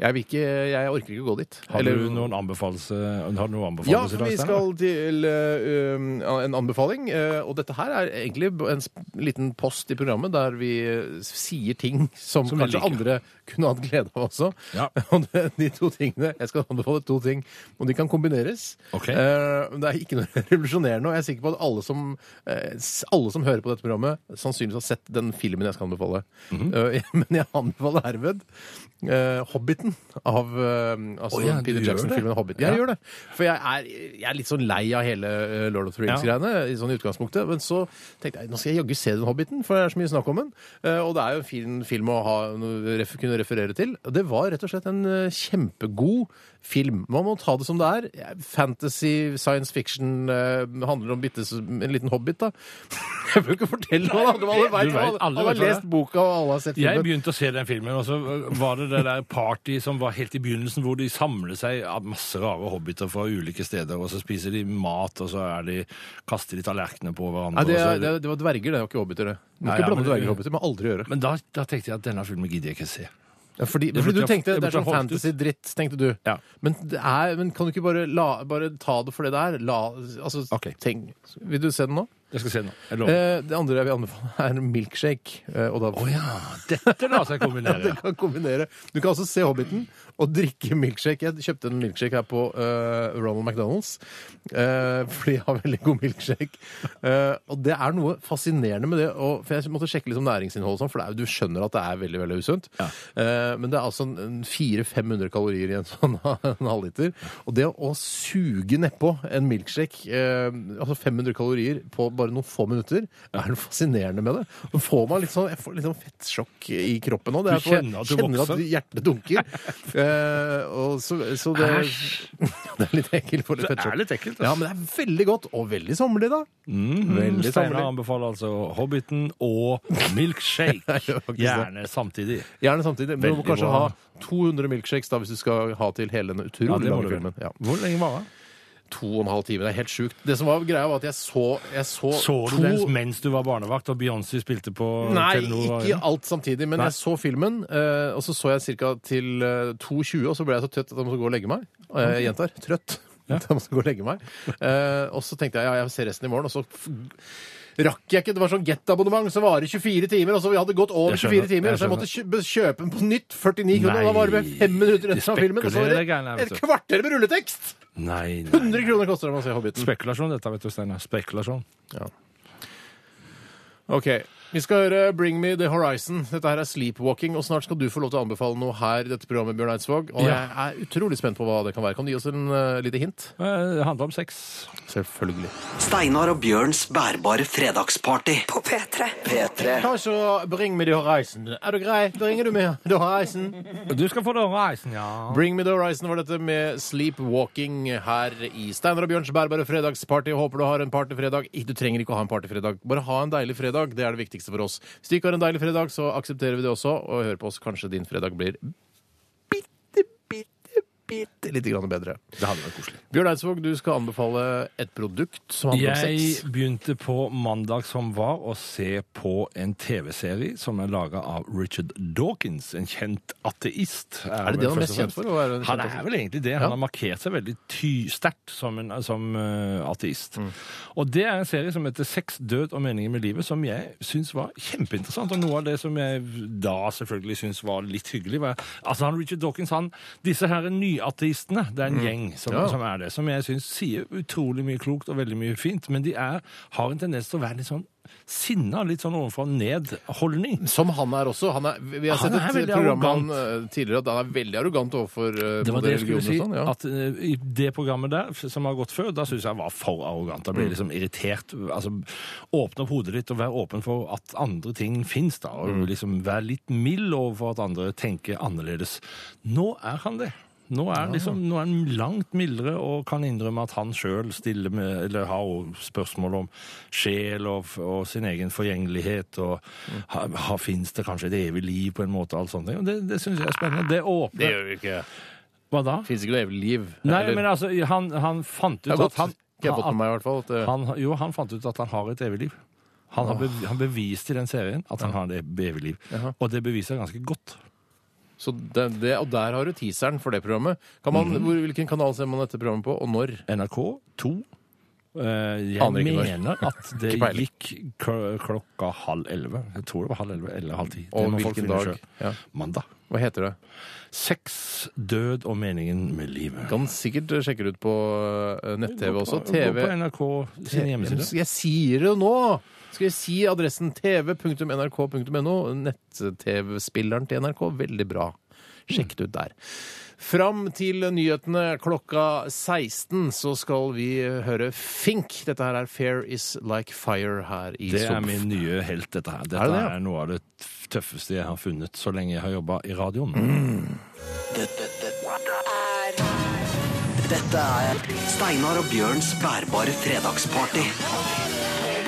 Jeg, vil ikke, jeg orker ikke å gå dit.
Har
Eller-
du noen anbefalelse, har du noen
Ja,
anbefalelse i dag?
vi
Steinar?
skal til eh, um, en anbefaling. eh, og dette her er egentlig en sp- liten post i programmet der vi eh, sier ting som,
Som vi
kanskje
liker.
andre kunne hatt glede av også.
Ja.
[laughs] Og det, de to tingene, Jeg skal anbefale to ting, og de kan kombineres.
Ok.
Eh, men det er ikke noe [laughs] revolusjonerende, og jeg er sikker på at alle som, eh, s- alle som hører på dette programmet, sannsynligvis har sett den filmen jeg skal anbefale.
Mhm.
Eh, [laughs] men jeg anbefaler herved eh, 'Hobbiten' av eh, altså,
Å ja, du
Peter
gjør
Jackson-filmen
det?
'Hobbiten'. Jeg
Ja.
gjør det. For jeg er, jeg er litt sånn lei av hele eh, Lord of the Rings-greiene. i sånn utgangspunktet, Men så tenkte jeg nå skal jeg jaggu se den Hobbiten, for det er så mye snakk om den. Eh, Og det er jo en fin film å ha, noe ref, kunne referere til. Og Det var rett og slett en eh, kjempegod film. Man må ta det som det er. Fantasy, science fiction eh, handler om bitte s- en liten hobbit, da. [laughs] Jeg bør ikke fortelle hva det handler om. Alle
Du
vet hva
vet,
det-
alle
Alle har
vet hva det er.
lest boka, og alle har sett
Jeg
filmen.
begynte å se den filmen, og så var det det der party som var helt i begynnelsen, hvor de samler seg av masse rare hobbiter fra ulike steder, og så spiser de mat, og så er de, kaster de tallerkenene på hverandre.
Nei, det,
og så-
er- det, er- det var dverger, det var ikke hobbiter. det. Du må
Nei,
ikke
ja,
blande
men-
dverger og hobbiter. Det må aldri gjøre.
Men da, da tenkte jeg at denne filmen gidder jeg ikke se.
Ja, fordi,
Det
fordi
burde
du
jeg-
tenkte
det
det er
burde
sånn
jeg holdt ut.
fantasy-dritt, tenkte du.
Ja.
Men, det er, men kan du ikke bare, la, bare ta det for det det er? La, altså,
Ok.
ting. Vil du se den nå?
Jeg skal se den nå. Jeg lover.
Eh, det andre jeg vil anbefale, er milkshake. Eh, og da
Å ja, dette lar seg kombinere.
[laughs] kan kombinere. Du kan altså se Hobbiten og drikke milkshake. Jeg kjøpte en milkshake her på eh, Ronald McDonald's, eh, for de har veldig god milkshake. Eh, og det er noe fascinerende med det. Og, for jeg måtte sjekke liksom næringsinnholdet, og sånn, for det er, jo- du skjønner at det er veldig veldig usunt. Eh, men det er altså en- en 400-500 kalorier i en sånn [laughs] en halvliter. Og det å suge nedpå en milkshake, eh, altså 500 kalorier på bare noen få minutter, er noe fascinerende med det. Så får man litt sånn, jeg får litt sånn fettsjokk i kroppen nå. Det
Du
er for- jeg
kjenner at du
kjenner
vokser.
at hjertet dunker.
[laughs]
Eh, og så, så det, [laughs] det er litt ekkelt for et
Det
fettsjokk.
er litt ekkelt.
Ja, Mm, men det er veldig godt, og veldig sommerlig, da. veldig
Steinar
sommerlig.
Mm, anbefaler altså Hobbiten og
[laughs]
milkshake.
Jeg gjør faktisk det.
Gjerne samtidig.
Gjerne samtidig. Men du må
Veldig
kanskje
bra.
ha 200 milkshakes da, hvis du skal ha til hele den utrolig
det må
lange
du
filmen.
vel.
Ja.
Hvor lenge var det?
To og en halv time. Det er helt sjukt. Det som var greia, var at jeg så Jeg så,
Så du
to-
den mens du var barnevakt, og Beyoncé spilte på
Nei,
Telenor?
ikke alt samtidig, men
Nei.
jeg så filmen, eh, og så så jeg ca. til eh, 2.20, og så ble jeg så trøtt at jeg måtte gå og legge meg. Og jeg gjentar trøtt. [laughs] At jeg måtte gå og legge meg. Eh, og så tenkte jeg ja, jeg ser resten i morgen, og så f rakk jeg ikke. Det var sånn get-abonnement som varer 24 timer, og så vi hadde gått over
Jeg
24
skjønner,
timer,
jeg
så jeg måtte kjø be- kjøpe den på nytt. 49 kroner, og da var det
Nei,
fem minutter
de
resten av filmen. Og så
spekulerer
var
det gærne
det
her, vet
et
du.
kvarter med rulletekst!
[laughs] Nei, nei.
100 kroner koster det å se Hobbiten.
Spekulasjon, dette, vet du, Steinar. Spekulasjon.
Ok, Vi skal høre Bring Me The Horizon. Dette her er sleepwalking, og snart skal du få lov til å anbefale noe her i dette programmet, Bjørn Eidsvåg. Og jeg
Ja.
er utrolig spent på hva det kan være. Kan du gi oss en uh, lite hint?
Eh, Det handler om sex.
Selvfølgelig.
Steinar og Bjørns bærbare fredagsparty.
På P3.
P3.
Ta så Bring Me The Horizon. Er du grei? Da ringer du med The Horizon.
Du skal få det over reisen, ja.
Bring Me The Horizon var dette med sleepwalking her i Steinar og Bjørns bærbare fredagsparty. Jeg Håper du har en partyfredag. Ik- Du trenger ikke å ha en partyfredag. Bare ha en deilig fredag. Det er det viktigste for oss. Hvis du ikke har en deilig fredag, så aksepterer vi det også. Og hør på oss. Kanskje din fredag blir bitte, bitte, bitte lite grann bedre.
Det hadde vært koselig.
Bjørn Eidsvåg, du skal anbefale et produkt som handler om sex.
Jeg begynte på mandag som var å se på en TV-serie som er laga av Richard Dawkins, en kjent ateist.
Er det det
vel
han er
først
mest
og
kjent for?
fremst.
Å være en
Han
kjent
er
ateist?
vel egentlig det.
Ja.
Han har markert seg veldig ty- sterkt som, en, som eh, ateist.
Mm.
Og det er en serie som heter Sex, død og meningen med livet, som jeg syns var kjempeinteressant. Og noe av det som jeg da selvfølgelig syns var litt hyggelig var, Altså, han Richard Dawkins, han Disse her nye Friateistene. Det er en gjeng som,
Mm. Ja.
som er det. Som jeg syns sier utrolig mye klokt og veldig mye fint, men de er, har en tendens til å være litt sånn sinna, litt sånn ovenfra og ned-holdning.
Som han er også. Han er, vi har
Han
sett
er
et
veldig
program med han eh, tidligere at han er veldig arrogant overfor eh,
Det var
både
det jeg
religion
skulle
og
si.
sånn. Ja.
At eh, i det programmet der, f- som har gått før, da syns jeg var for arrogant. Da ble
Mm.
jeg liksom irritert. Altså, åpne opp hodet ditt og vær åpen for at andre ting fins, da.
Mm.
Og liksom vær litt mild overfor at andre tenker annerledes. Nå er han det. Nå er, han liksom, nå er han langt mildere og kan innrømme at han sjøl stiller med, eller har jo spørsmål om sjel og, f- og sin egen forgjengelighet, og
Mm.
ha, ha, fins det kanskje et evig liv på en måte, og alt sånt. Og Det, det syns jeg er spennende. Det åpner
gjør vi ikke.
Hva da?
Fins ikke noe evig liv.
Nei,
Eller-
men altså, han, han fant ut
det er
at
godt.
han,
Ikke jeg har fått med meg, i hvert fall. At, eh,
han Jo, han fant ut at han har et evig liv. Han, har bev- han beviste i den serien at han har et evig liv. Og det beviser han ganske godt.
så det, det, og der har du teaseren for det programmet. Kan man,
Mhm.
hvor, hvilken kanal ser man dette programmet på, og når?
NRK 2. Eh, jeg
Aner ikke når. [laughs]
mener at det
Ikke peiling.
gikk kl klokka halv elleve. Jeg tror det var halv elleve eller halv ti. Det
Og
må folk
hvilken dag?
finne selv.
Ja.
Mandag.
Hva heter det?
Sex, død og meningen med livet.
Kan sikkert sjekke det ut på eh, nett-TV også.
Gå på
TV
NRK sin hjemmeside.
Jeg sier det jo nå! Skal jeg si adressen tv.nrk.no? Nett-TV-spilleren til NRK. Veldig bra. Sjekk det ut der. Fram til nyhetene klokka 16 så skal vi høre Fink. Dette her er Fair Is Like Fire her i
Det er
Sof.
min nye helt, dette her. Dette
Er
er,
det det, ja?
noe av det tøffeste jeg har funnet så lenge jeg har jobba i radioen.
Dette, dette er Dette er Steinar og Bjørns bærbare fredagsparty.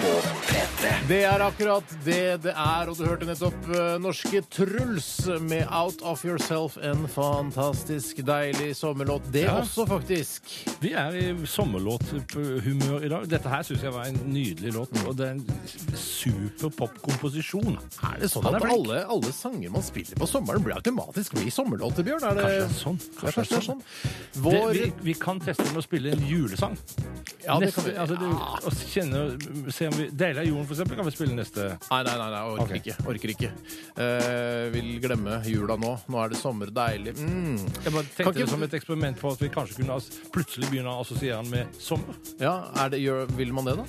På P3.
Det er akkurat det det er, og du hørte nettopp eh, norske Truls med Out of Yourself. En fantastisk deilig sommerlåt, det
Ja.
også, faktisk.
Vi er i sommerlåthumør i dag. Dette her syns jeg var en nydelig låt, og det er en super popkomposisjon.
Er det sånn
Han er
at
flink.
alle, alle sanger man spiller på sommeren, blir automatisk blir sommerlåter, Bjørn? Er det,
Kanskje det er sånn.
Ja,
Kanskje det er sånn. Det,
Vår
vi, vi kan teste med å spille en julesang.
ja, det
Neste,
kan vi,
altså, du, og kjenne, se om vi, Deilig er jorden, for eksempel, kan vi spille neste.
Nei, nei, nei, nei orker
Ok.
ikke. Orker ikke. Eh, vil glemme jula nå. Nå er det sommer. Deilig. Mm.
Jeg bare
Kan
tenkte
ikke-
det som et eksperiment på at vi kanskje kunne as- plutselig begynne å assosiere den med sommer.
Ja, er det, gjør, vil man det, da?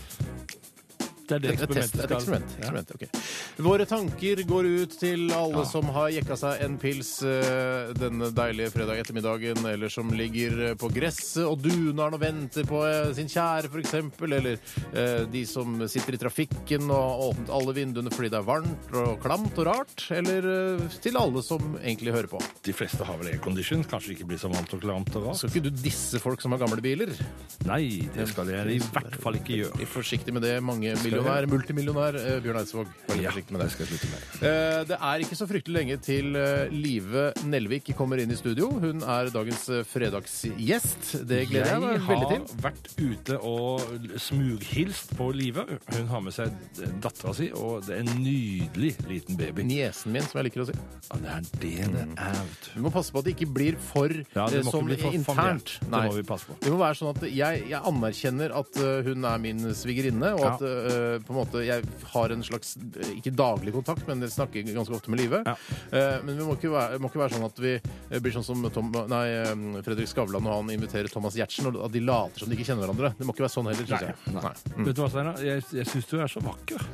Det er det
Et test, et
eksperimentet skal
eksperiment.
Ja.
eksperiment ok. Våre tanker går ut til alle som har jekka seg en pils eh, denne deilige fredag ettermiddagen, eller som ligger eh, på gresset og duner og venter på eh, sin kjære, f.eks., eller eh, de som sitter i trafikken og har åpnet alle vinduene fordi det er varmt og klamt og rart, eller eh, til alle som egentlig hører på.
De fleste har vel aircondition. Kanskje ikke blir så varmt og klamt og rart.
Skal ikke du disse folk som har gamle biler?
Nei, det skal jeg i hvert fall ikke gjøre.
Vær forsiktig med det, mange millionær, multimillionær eh, Bjørn Eidsvåg. Vær litt forsiktig
Ja,
med det.
det skal jeg slutte med.
Eh, Det er ikke så fryktelig lenge til eh, Live Nelvik kommer inn i studio. Hun er dagens eh, fredagsgjest. Det gleder jeg meg veldig til.
har vært ute og smughilst på Live. Hun har med seg dattera si, og det er en nydelig liten baby. Mm.
Niesen min, som jeg liker å si.
Ja, det er det det er, vet
Du må passe på at det ikke blir for
Ja, det
eh,
må ikke
sånn
bli for familiært.
internt.
Det
Nei.
må vi passe på.
Det må være sånn at jeg, jeg anerkjenner at eh, hun er min svigerinne, og at
Ja.
eh, på en måte jeg har en slags eh, ikke daglig kontakt, men jeg snakker ganske ofte med Live.
Ja.
Eh, men vi må ikke, være, må ikke være sånn at vi eh, blir sånn som Tom, nei, eh, Fredrik Skavlan og han inviterer Thomas Giertsen, og at de later som de ikke kjenner hverandre. Det må ikke være sånn heller, syns jeg.
Nei. Mm. Vet du hva, Steinar? Jeg, jeg syns du er så vakker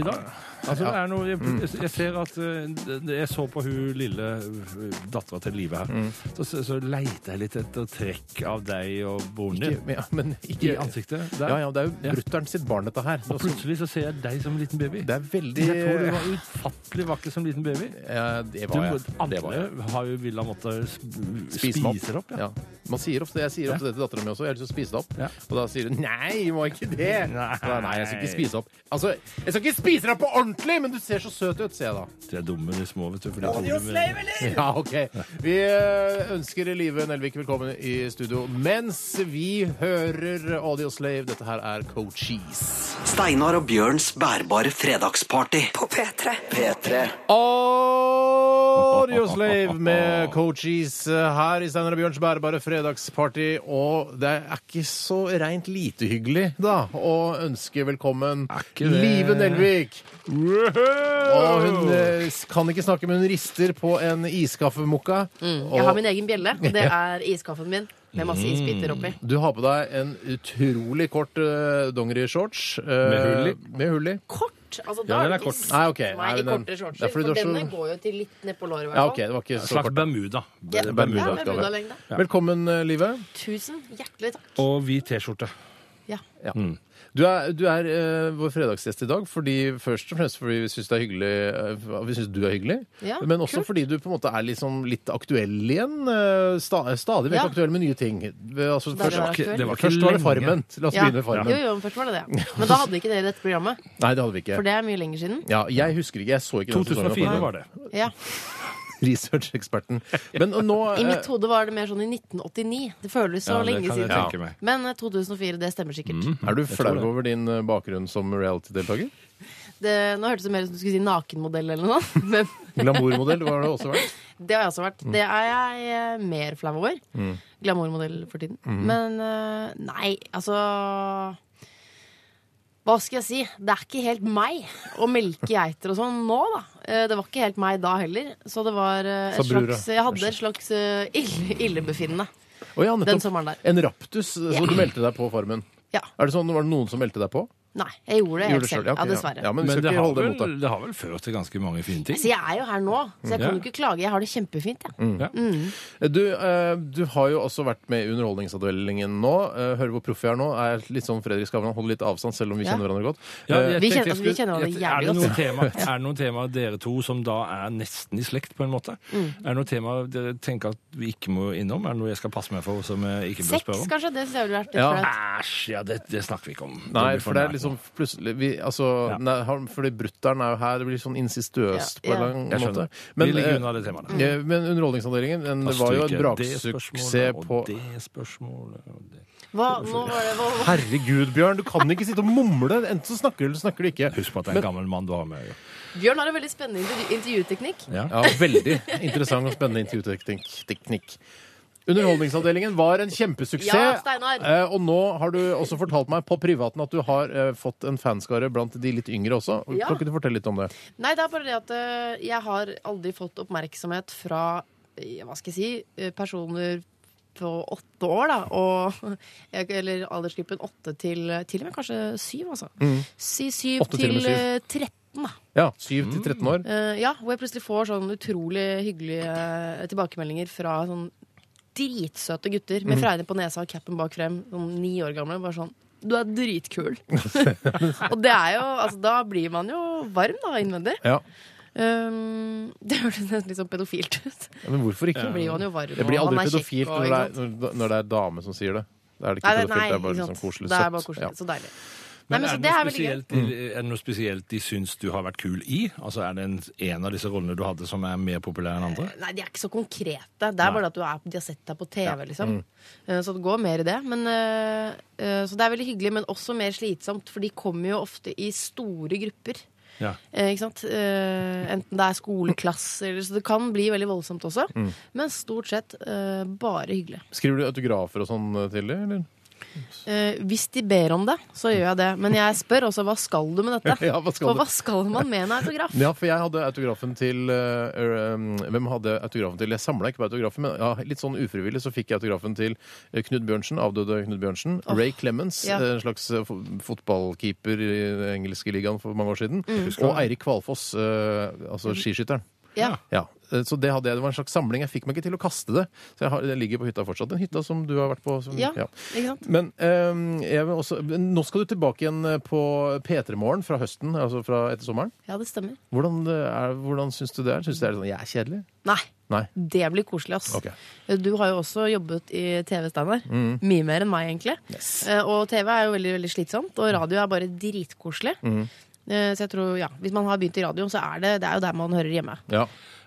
i dag. Altså, det er noe, jeg, jeg- jeg ser at eh, det- Jeg så på hun lille eh, dattera til Live her. Så, så, så leita jeg litt etter trekk av deg og broren din.
Ikke, men, ja, men ikke
I ansiktet. Der.
Ja, ja, det er jo
Ja.
brutter'n sitt barn, dette her.
Og plutselig så ser jeg deg som en liten baby.
Det er veldig
Jeg tror du var utfattelig vakker som liten baby.
Ja, det
Du,
var jeg.
alle
Det var jeg.
har jo villet måtte sp-
Spise
spise
den opp.
det opp. Ja.
Ja. Man sier ofte, jeg sier ofte det til dattera mi også. Jeg har lyst til å spise det opp.
Ja.
Og da sier hun nei, vi må ikke det.
Nei.
Nei, nei, jeg skal ikke spise det opp. Altså, jeg skal ikke spise det opp på ordentlig, men du ser så søt ut, sier jeg da.
De er dumme, de små, vet du. For de tror du
Ja, ok. Vi eh, ønsker Live Nelvik velkommen i studio mens vi hører Audio Slave. Dette her er Cochise.
Steinar og Bjørns bærbare fredagsparty. På P3. P3.
Og Audio
[laughs]
Slave med coaches eh, her i Steinar og Bjørns bærbare fredagsparty. Og det er ikke så rent lite hyggelig, da, å ønske velkommen
Er ikke det-
Live Nelvik. Og hun eh, s- kan ikke snakke, men hun rister på en iskaffemokka.
Mm, Jeg har min egen bjelle.
[laughs]
og Det er iskaffen min med masse isbiter oppi.
Mm.
Du har på deg en utrolig kort uh, dongerishorts. eh,
Med hull i.
Med hull i.
Kort! Altså,
Ja,
da
den er
det
kort.
ikke-
Nei, OK.
Nei,
Nei,
i
den-
kortere
Det
shortser.
er fordi
For
du har så-
denne går jo til litt nedpå låret, i
Ja,
hvert
OK.
fall.
Det var ikke
En
så
slags
kort. da.
Bermuda.
Ja,
Bermuda.
ja, Bermudalengde.
Velkommen, eh, Live.
Tusen hjertelig takk.
Og hvit T-skjorte.
Ja.
Ja. Mm. Du er, du er eh, vår fredagsgjest i dag fordi, først og fremst fordi vi syns det er hyggelig eh, Vi syns du er hyggelig,
Ja,
men også
kult.
fordi du på en måte er liksom litt aktuell igjen. eh, sta, stadig vekk
Ja.
aktuell med nye ting. Vi- Altså,
Da er
først,
det aktuell.
Det var ikke
først var det
lenge.
Farmen. La oss
Ja.
begynne med Farmen.
Jo, jo, men først var det det. Men da hadde ikke dere dette
[laughs]
programmet,
Nei, det hadde vi ikke.
for det er mye lenger siden.
Ja, jeg husker ikke. Jeg så ikke den sesongen av
2004
Farmen.
var det.
Ja.
Researcheksperten. Men nå
[laughs] I
eh,
mitt hode var det mer sånn i 1989. Det føles så
Ja, det
lenge
kan jeg
siden.
tenke meg. Mm.
Men eh, 2004, det stemmer sikkert.
Er du flau
det.
over din eh, bakgrunn som reality-deltaker?
Det, nå hørtes det mer ut som du skulle si nakenmodell eller noe, [laughs] men
Glamourmodell var det også vært.
det har jeg også vært.
Mm.
Det er jeg eh, mer flau over. Glamourmodell for tiden.
Mm.
Men eh, nei, altså Hva skal jeg si? Det er ikke helt meg å melke geiter og sånn nå, da. Eh, Det var ikke helt meg da heller. Så det var eh,
Sa
et
brura.
slags Jeg hadde et slags eh, ille, illebefinnende
Å ja,
[laughs] den
nettopp.
sommeren der.
En raptus, så du meldte deg på Farmen.
Ja.
Er det sånn, Var det noen som meldte deg på?
Nei, jeg gjorde det
Gjorde
helt
det selv,
selv.
ja, ok,
Ja, dessverre.
Ja, men vi
Men
skal
det
ikke
har,
holde det mot
vel,
deg.
det har vel ført til ganske mange fine ting.
Så jeg er jo her nå, så jeg kan jo ikke klage. Jeg har det kjempefint. Altså, Jeg.
Mm,
Mm.
Du, eh, du har jo også vært med i Underholdningsavdelingen nå. Eh, Hører hvor proff jeg er nå. Er litt sånn Fredrik Skavlan, holder litt avstand selv om vi
Ja.
kjenner hverandre godt.
Ja,
Eh,
jeg
Vi
tenkte jeg
kjenner- altså, vi
skulle-
kjenner hverandre
jeg-
jævlig
er det noen
[laughs]
tema, Er det noen tema dere to som da er nesten i slekt, på en måte?
Mm.
Er det noen tema dere tenker at vi ikke må innom? Er det noe jeg skal passe meg for som jeg ikke bør
Sex,
spørre om?
kanskje? Det syns jeg ville vært litt
Ja.
flaut.
Æsj, ja, det, det snakker vi ikke om.
Nei,
blir for
for det er
nært
liksom
nå.
plutselig vi, altså,
Ja.
nei, han- Fordi brutter'n er jo her. Det blir sånn insistuøst på en
Ja, ja.
lang
Jeg
måte.
skjønner. vi ligger unna det temaet. der.
eh, men Underholdningsavdelingen den, det var jo en
Stryker det spørsmålet,
braksuksess på
Og det spørsmålet og det.
Hva, nå var det, hva, hva?
Herregud, Bjørn, du kan ikke sitte og mumle. Enten så snakker du, eller så snakker du ikke.
Husk på at det er en gammel mann du har med.
Bjørn har en veldig spennende intervju- intervjuteknikk.
Ja.
Ja, veldig interessant og spennende intervjuteknikk. Underholdningsavdelingen var en kjempesuksess.
Ja, Steinar.
eh, og nå har du også fortalt meg på privaten at du har eh, fått en fanskare blant de litt yngre også.
Ja.
Kan ikke du fortelle litt om det?
Nei, det er bare det at øh, jeg har aldri fått oppmerksomhet fra øh, hva skal jeg si, øh, personer på åtte år, da. Og, eller aldersgruppen åtte til til og med kanskje syv, altså. Si syv
Mm. Åtte til og
til
med syv.
øh, 13, da.
Ja, 7 til 13 år.
Eh, ja, hvor jeg plutselig får sånn utrolig hyggelige eh, tilbakemeldinger fra sånn dritsøte gutter
Mm.
med fregner på nesa og capen bak frem, sånn ni år gamle. bare sånn du
[laughs]
er dritkul. og det er jo altså, Da blir man jo varm, da, innvendig.
Ja,
Um, [laughs] det hørtes nesten litt sånn pedofilt
[laughs]
ut.
Ja, Men hvorfor ikke?
Så blir man jo varm.
Det blir
og
aldri
man er kjekk
pedofilt
og-
når det, er, når- når det er dame som sier det. Da er det ikke
Nei, nei,
pedofilt, det er bare
ikke
liksom
sant.
koselig.
Det
søtt.
er bare koselig.
Ja.
Så deilig. Nei,
Men
men
er
så
det,
det er
noe
veldig gøy.
spesielt, Mm. er det noe spesielt de syns du har vært kul i? Altså Er det en, en av disse rollene du hadde som er mer populær enn andre?
Nei, de er ikke så konkrete. Det er bare at du er, de har sett deg på TV,
Mm.
liksom. Eh, Så det går mer i det. Men, eh, eh, så det er veldig hyggelig, men også mer slitsomt, for de kommer jo ofte i store grupper.
Ja.
Eh, ikke sant? Eh, enten det er skoleklasse eller Så det kan bli veldig voldsomt også.
Mm.
Men stort sett eh, bare hyggelig.
Skriver du autografer og sånn eh, til det, eller?
Eh, hvis de ber om det, så gjør jeg det. Men jeg spør også hva skal du med dette?
[laughs] Ja, hva skal
Og
du?
hva skal man med en autograf?
Ja, for jeg hadde autografen til eh, er, um, Hvem hadde autografen til? Jeg samla ikke på autografen, men ja, litt sånn ufrivillig så fikk jeg autografen til eh, Knut Bjørnsen, avdøde Knut Bjørnsen. Ray Clemens,
ja.
eh, en slags eh, fo- fotballkeeper i den engelske ligaen for mange år siden.
Mm.
Og Eirik Kvalfoss, eh, altså skiskytteren.
Ja.
[laughs] Ja, eh, så det hadde jeg. Det var en slags samling. Jeg fikk meg ikke til å kaste det. Så jeg har, den ligger på hytta fortsatt. Den hytta som du har vært på. Som,
Ja, ikke sant?
Men eh, jeg vil også, nå skal du tilbake igjen eh, på P3 Morgen fra høsten, altså fra etter sommeren.
Ja, det stemmer.
Hvordan, det er, hvordan syns du det er? Syns du det er sånn jeg er kjedelig?
Nei.
Nei.
Det blir koselig, ass.
Ok. Mm.
Du har jo også jobbet i TV, Steinar. Mye mer enn meg, egentlig. Eh, Og TV er jo veldig veldig slitsomt, og radio er bare dritkoselig.
Mm.
Eh, Så jeg tror, ja, Hvis man har begynt i radio, så er det, det er jo der man hører hjemme.
Ja.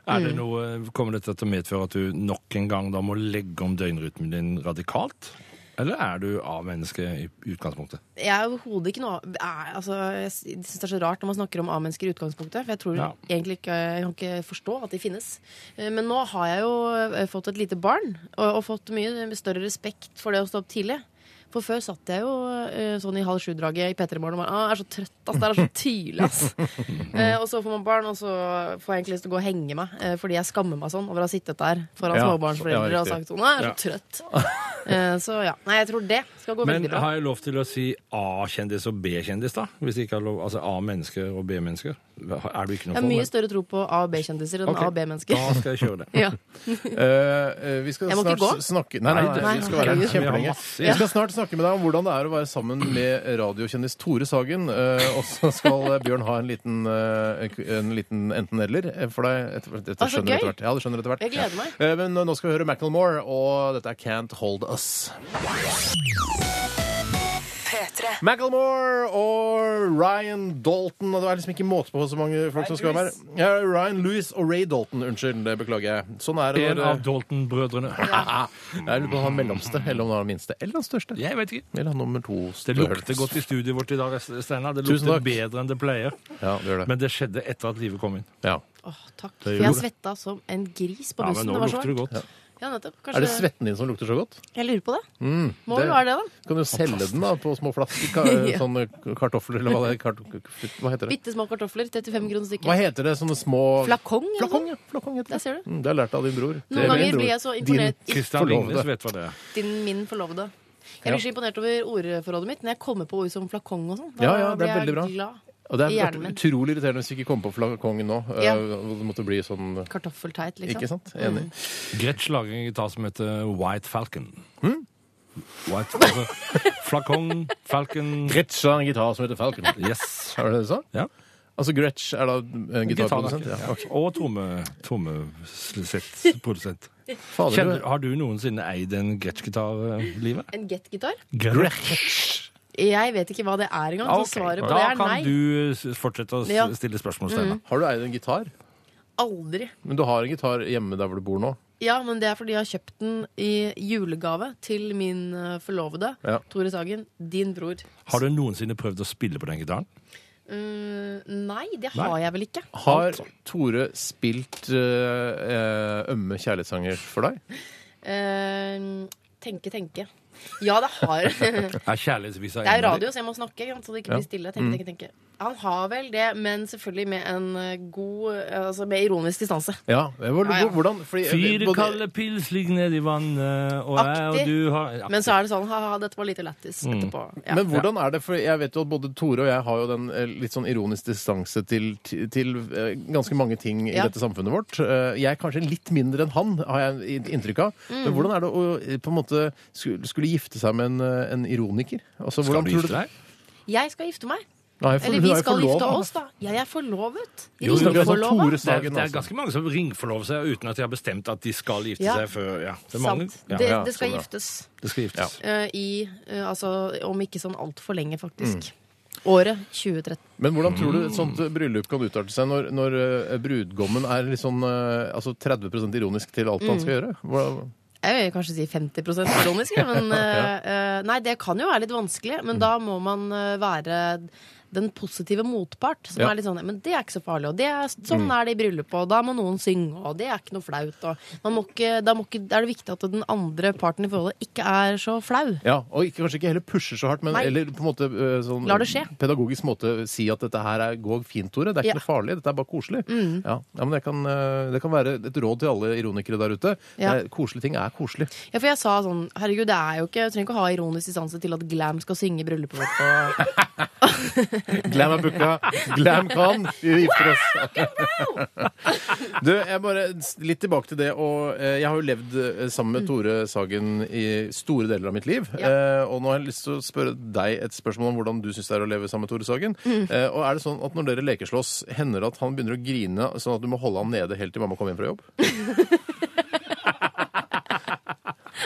Er
Mm.
det noe, Kommer dette til å medføre at du nok en gang da må legge om døgnrytmen din radikalt? Eller er du A-menneske i utgangspunktet?
Jeg er overhodet ikke noe er, altså, Jeg syns det er så rart når man snakker om A-mennesker i utgangspunktet. For jeg tror
Ja.
egentlig ikke Jeg kan ikke forstå at de finnes. Eh, Men nå har jeg jo eh, fått et lite barn, og, og fått mye større respekt for det å stå opp tidlig. For før satt jeg jo eh, sånn i halv sju-draget i P3 Morgen og bare ah, jeg er så trøtt, ass. Det er så tidlig,
[laughs]
ass. Eh, og så får man barn, og så får jeg egentlig lyst til å gå og henge meg. eh, fordi jeg skammer meg sånn over å ha sittet der foran
Ja,
småbarnsforeldre
ja,
og
riktig.
sagt sånn, ah, jeg er så trøtt. Eh, så ja. Nei, jeg tror det skal gå
Men
veldig bra.
har jeg lov til å si A-kjendis og B-kjendis, da? Hvis jeg ikke har lov, Altså A-mennesker og B-mennesker? Er du ikke noe for
Jeg har mye
men-
større tro på A- og B-kjendiser enn
Ok.
A- og B-mennesker.
Da skal jeg kjøre det.
[laughs] Ja.
[laughs] Eh, eh, vi skal
Jeg må ikke
snart
gå.
s- snakke Nei, nei, nei,
Nei,
vi skal være her
herregud.
Vi har
kjempelenge.
masse.
Vi skal snart snakke med deg om hvordan det er å være sammen med radiokjendis Tore Sagen. eh, og så skal eh, Bjørn ha en liten, eh, en liten enten-eller eh, for deg. Etter, dette
Ah, så
skjønner du etter
gøy.
hvert. Ja, du skjønner etter hvert.
Jeg gleder meg.
Eh, men nå skal vi høre Macclemore, og dette er Can't Hold Us.
P3.
Macclemore og Ryan Dalton og Det er liksom ikke måte på så mange folk som skal være med. Ja, Ryan Lewis og Ray Dalton. Unnskyld, det beklager jeg. Sånn er [laughs] det.
En
når-
av Dalton-brødrene.
Jeg lurer på om han er mellomste, eller om han er den minste, eller den største.
[laughs] Jeg vet ikke.
Eller han nummer to.
Det lukter godt i studioet vårt i dag, Steinar. Det
Tusen
lukter
takk.
bedre enn det pleier.
Ja, det gjør det.
Men det skjedde etter at livet kom inn.
ja.
Åh, takk.
Det
For
gjorde
jeg
det.
svetta som en gris på
Ja, men
bussen.
nå
det var så
lukter det
varmt.
godt.
Ja, nettopp.
Er det
Kanskje
svetten din som lukter så godt? Mm.
Jeg lurer på det. Må
det-
vel være det, da.
Kan du selge den da på små flasker? Ka
[laughs] Ja.
Sånne kartofler, eller hva det er? Kart hva heter det?
Bitte små kartofler. 35 kroner stykket.
Hva heter det? Sånne små
Flakong? eller noe?
Flakong, ja. Flakong heter
Der
det.
ser du.
Mm, det har jeg lært av din bror. Det er
Noen
min
ganger
bror.
blir jeg så
Din-
imponert i
Kristian
Forlovede.
Ringnes vet hva det er.
din, min forlovede. Jeg
Ja.
blir så imponert over ordforrådet mitt når jeg kommer på ord som flakong og sånn. Da
Ja, ja, det er
blir jeg
veldig bra.
glad.
Og det
i
er
hjernen min.
utrolig irriterende hvis vi ikke kommer på flakongen nå.
Ja.
Eh, Det måtte bli sånn
Kartoffelteit, liksom.
Ikke sant? Enig.
Gretsch lager en gitar som heter White Falcon. White altså, [laughs] Flakong, Falcon
Gretsch [laughs] har en gitar som heter Falcon.
Yes.
Er det det du sa?
Ja.
Altså Gretsch er da en gitarprodusent?
Gitarlager,
Ja.
ja. Og tromme- trommesett-produsent.
Fader, du-
Kjenner- Har du noensinne eid en Gretsch-gitar, eh, Live?
En get-gitar?
Gretsch!
Jeg vet ikke hva det er engang,
Ah, ok.
så svaret på det
Da
er nei.
kan du s- fortsette å
Ja. Mm.
s- stille spørsmål, Steinar.
Har du eid en gitar?
Aldri.
Men du har en gitar hjemme der hvor du bor nå?
Ja, men det er fordi jeg har kjøpt den i julegave til min eh, forlovede,
Ja.
Tore Sagen, din bror.
Har du noensinne prøvd å spille på den gitaren?
Mm, nei, det
Nei.
har jeg vel ikke.
Har Tore spilt eh, eh, ømme kjærlighetssanger for deg?
Eh, tenke, tenke. Ja,
[laughs]
det har Det
Er kjærlighetsvisa
er
en av de?
radio, så jeg må snakke, ikke sant, så det ikke blir stille.
Mm.
Tenke, tenke, tenke. Han har vel det, men selvfølgelig med en eh, god eh, Altså med ironisk distanse.
Ja. Hvor,
Ja, ja.
Hvordan? Fordi,
Fire
både-
kalde pils ligger nedi vannet, og jeg og
Aktig.
du har
Men så er det sånn ha-ha, dette var lite lættis etterpå.
Mm.
Ja.
Men hvordan er det, for jeg vet jo at både Tore og jeg har jo den eh, litt sånn ironisk distanse til, til eh, ganske mange ting i
Ja.
dette samfunnet vårt. Eh, Jeg er kanskje litt mindre enn han, har jeg i- inntrykk av.
Mm.
Men hvordan er det å eh, på en måte skulle, skulle gifte seg med en, eh, en ironiker? Altså,
Skal
hvordan
du
tror
gifte deg?
Jeg skal gifte meg.
Nei, for,
Eller
hun
vi
er jo
skal
forlovet.
gifte oss, da. Jeg er forlovet.
Jo, jo, det er sånn
Ringforlova.
Tore
Det er,
Sagen,
det er
altså.
ganske mange som ringforlover seg uten at de har bestemt at de skal gifte
Ja.
seg før ja. Det er mange.
Sant.
Ja,
Det,
ja,
det skal
sånn, ja.
giftes.
det skal giftes.
eh, i eh, Altså om ikke sånn altfor lenge, faktisk. Året 2013.
Men hvordan tror
Mm.
du et sånt eh, bryllup kan utarte seg når, når eh, brudgommen er litt sånn eh, altså 30 ironisk til alt
Mm.
han skal gjøre? Hvordan-
Jeg vil kanskje si 50 ironisk, ja, men eh, eh, Nei, det kan jo være litt vanskelig, men da må man eh, være den positive motpart. Som
Ja.
er litt sånn Men det er ikke så farlig, og det er, sånn er det i bryllupet, og da må noen synge, og det er ikke noe flaut, og man må ikke, Da må ikke, er det viktig at den andre parten i forholdet ikke er så flau.
Ja, og ikke, kanskje ikke heller pusher så hardt, men
Nei.
eller på en måte eh, sånn
Lar det skje.
pedagogisk måte si at dette her er, går fint, Tore. Det er ikke
Ja. Mm.
noe farlig, dette er bare koselig. Ja, ja, men det kan, eh, det kan være et råd til alle ironikere der ute.
Ja.
Det er- Koselige ting er koselig.
Ja, for jeg sa sånn Herregud, det er jo ikke Jeg trenger ikke å ha ironisk distanse til at Glam skal synge i bryllupet vårt. Og, [laughs]
Glam er booka, glam kan, vi gifter oss. Du, jeg bare s- litt tilbake til det, og eh, jeg har jo levd eh, sammen med Tore Sagen i store deler av mitt liv, eh, og nå har jeg lyst til å spørre deg et spørsmål om hvordan du synes det er å leve sammen med Tore Sagen. Eh, og er det sånn at når dere lekeslåss, hender det at han begynner å grine sånn at du må holde han nede helt til mamma kommer hjem fra jobb?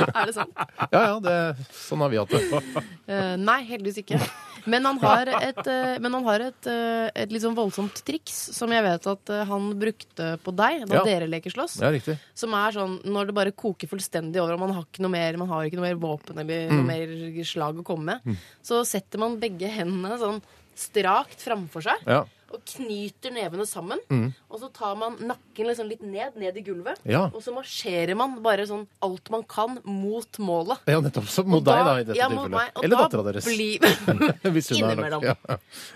er det sant?
Ja, ja, det, sånn har vi hatt det. [laughs]
Eh, nei, heldigvis ikke. Men han har et, eh, men han har et, eh, et litt sånn voldsomt triks som jeg vet at eh, han brukte på deg da
Ja.
dere leker slåss.
Ja, riktig.
Som er sånn når det bare koker fullstendig over, og man har ikke noe mer, man har ikke noe mer våpen
Mm.
eller noe mer slag å komme med, så setter man begge hendene sånn strakt framfor seg.
Ja. Mm.
Og knyter nevene sammen. Og så tar man nakken liksom litt ned, ned i gulvet.
Ja.
Og så marsjerer man bare sånn alt man kan mot målet.
ja, nettopp. Så mot
Og
deg, da, i dette
ja, mot meg.
tilfellet.
Og
Eller
da
dattera deres.
blir-
[laughs] Hvis hun har lagt-
innimellom.
Ja.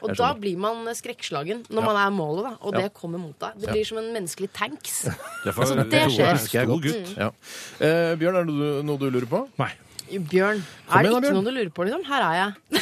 og da blir man eh, skrekkslagen når man er målet, da. Og det kommer mot deg. Det blir som en menneskelig
[laughs]
tanks.
Derfor,
Altså, det
Tore
skjer. Mm.
er en stor gutt.
Ja. Eh, Bjørn, er det noe, noe du lurer på?
Nei.
Bjørn,
Kom igjen da,
er det ikke
Bjørn.
noe du lurer på, liksom? Her er jeg.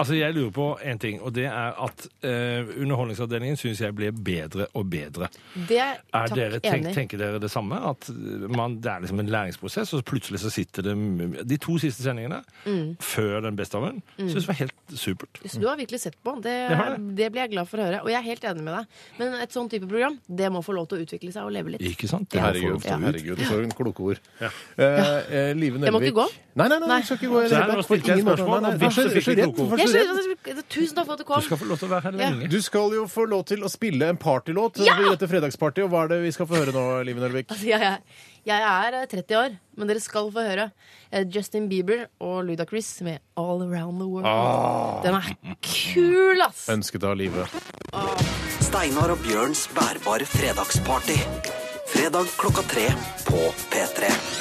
Altså, jeg lurer på en ting, og det er at eh, Underholdningsavdelingen syns jeg blir bedre og bedre.
Det
Er
takk
dere, tenk,
enig.
tenker dere det samme? At eh, man, det er liksom en læringsprosess, og så plutselig så sitter det De to siste sendingene
Mm.
før den beste av en, syns jeg var helt supert.
Så du har virkelig sett på. Det,
har
er,
det.
det blir jeg glad for å høre. Og jeg er helt enig med deg. Men et sånn type program, det må få lov til å utvikle seg og leve litt.
Ikke sant? Det
Herregud,
får du ut.
herregud, for en kloke ord. Eh, eh, Live Nelvik
Jeg må ikke gå?
Nei, nei, nei,
Nei.
du skal ikke gå. i det
Så her,
hele
nå
tatt.
stilte jeg et
Ingen måte.
spørsmål,
Nei, nei,
og
du er
først
så- du er så
fikk du
redd.
kloke ord.
Hvorfor er
Jeg
du så redd?
skjønner, tusen takk for at du
Du
kom.
skal få lov til å være her
Ja.
lenge.
Du skal jo få lov til å spille en partylåt
Ja!
i dette fredagspartiet, og hva er det vi skal få høre nå, Live Nelvik?
[laughs] Altså, jeg, er, jeg er eh, 30 år, men dere skal få høre eh, Justin Bieber og Ludacris med All Around the World.
Ah.
Den er kul, ass!
Ønsket av livet.
Steinar og Bjørns bærbare fredagsparty. Fredag klokka tre på P3.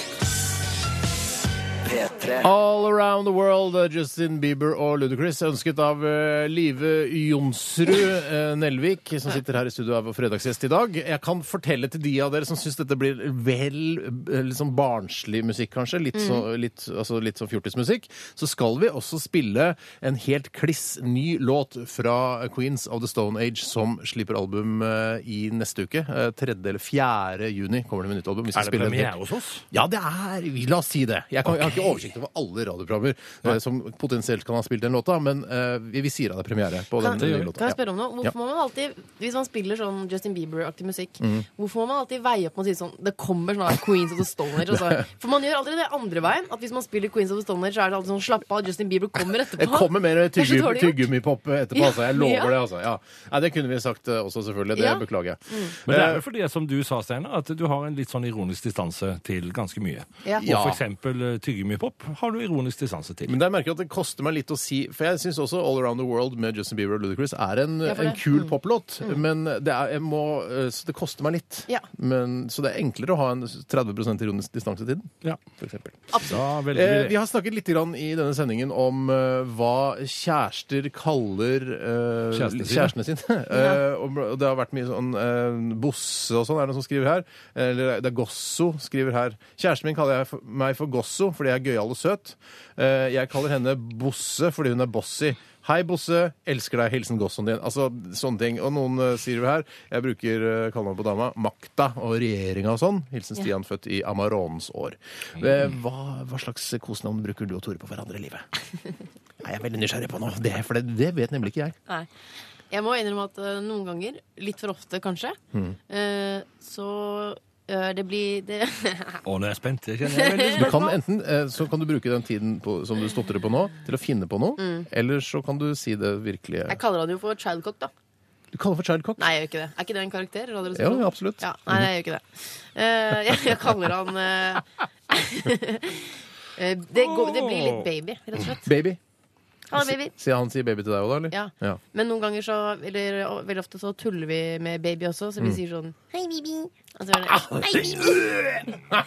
P3.
All Around the World, eh, Justin Bieber og Ludacris, ønsket av eh, Live Jonsrud eh, Nelvik, som sitter her i studio og er vår fredagsgjest i dag. Jeg kan fortelle til de av dere som syns dette blir vel eh, liksom barnslig musikk, kanskje, litt, så,
Mm.
litt, altså litt sånn fjortismusikk, så skal vi også spille en helt kliss ny låt fra Queens of the Stone Age, som slipper album eh, i neste uke. Eh, 3. eller 4. juni kommer det med nytt album. Vi skal
Er det
spille en helt-
premiere hos oss?
ja, det er La oss si det. Jeg, kan, jeg har ikke oversikt over alle radioprogrammer eh, som potensielt kan ha spilt den låta, men eh, vi, vi sier at det er premiere på
Kan,
den nye
kan
låta.
jeg spørre om noe?
Ja.
Hvorfor må man alltid, Hvis man spiller sånn Justin Bieber-aktig musikk,
Mhm.
hvorfor må man alltid veie opp med å si sånn Det kommer snart Queens of the Stone Age.
[laughs]
og så- For man gjør alltid det andre veien. At Hvis man spiller Queens of the Stone Age, så er det alltid sånn Slapp av, Justin Bieber kommer etterpå.
Jeg kommer mer
Det er så
tygge-
dårlig gjort.
tyggegummipop etterpå,
Ja,
altså. Jeg lover
ja.
det, altså. Ja. Nei, det kunne vi sagt eh, også, selvfølgelig. Det
Ja. Mm. Eh,
beklager jeg.
Men det er jo Eh, fordi, som du sa, Steinar, at du har en litt sånn ironisk distanse til ganske mye.
Ja.
Og
Ja. Mm.
for eksempel eh, tyggegummipop har du ironisk distanse til.
Men der merker jeg at det koster meg litt å si For jeg syns også All Around the World med Justin Bieber og Ludacris er en,
Ja, for
en
det. Mm.
kul poplåt, men det, er, jeg må, eh, så det koster meg litt.
Ja.
Men, så det er enklere å ha en 30 ironisk distanse til den,
Ja,
for eksempel.
da velger
Eh, vi
vi det.
har snakket litt grann i denne sendingen om eh, hva kjærester kaller eh,
Kjærestene sine.
kjærestene
[laughs]
sine. Eh, og bl- og det har vært mye sånn eh, Bosse og sånn, er det noen som skriver her. Eller det er Gosso skriver her. Kjæresten min kaller jeg for, meg for Gosso fordi jeg er gøyal og søt. Eh, jeg kaller henne Bosse fordi hun er bossy. Hei, Bosse. Elsker deg. Hilsen Gossoen din. Altså, sånne ting. Og noen eh, sier jo her Jeg bruker uh, kallenavn på dama. Makta og regjeringa og sånn. Hilsen Stian, født i Amaronens år. Eh, Hva, hva slags kosenavn bruker du og Tore på hverandre i
[laughs]
livet? Nei, jeg er veldig nysgjerrig på nå, det, for det, det vet nemlig ikke jeg.
Nei. Jeg må innrømme at eh, noen ganger, litt for ofte kanskje, eh, så eh, det blir det, [laughs]
Å, nå er jeg spent. Jeg kjenner jeg er veldig
Du kan enten eh, så kan du bruke den tiden på, som du stotrer på nå, til å finne på noe. Eller så kan du si det virkelige
Mm. Jeg kaller han jo for Childcock, da.
Du kaller for childcock.
Nei, jeg gjør ikke det. Er ikke det en karakter? Radio
Jo,
Resepsjon?
absolutt.
Ja, nei, jeg gjør ikke det. Eh, jeg, jeg kaller han eh, [laughs] eh, det, går, det blir litt baby, rett og slett.
Baby.
Han er baby.
Sier han sier baby til deg òg, da? eller?
Ja. Men noen ganger så, eller og veldig ofte så tuller vi med baby også, så vi sier sånn Hei, baby. Og så gjør det, Hei, baby. Ja,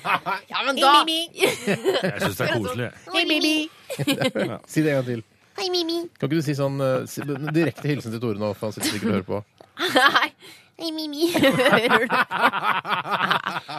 Ah, men da
Jeg syns det er koselig.
[laughs] Hei, baby.
Si det en gang til.
Hei, Mimi.
Kan ikke du si sånn eh, si, en direkte hilsen til Tore nå, for han sitter sikkert og hører
[laughs]
på.
Hei, Mimi.
Hører du?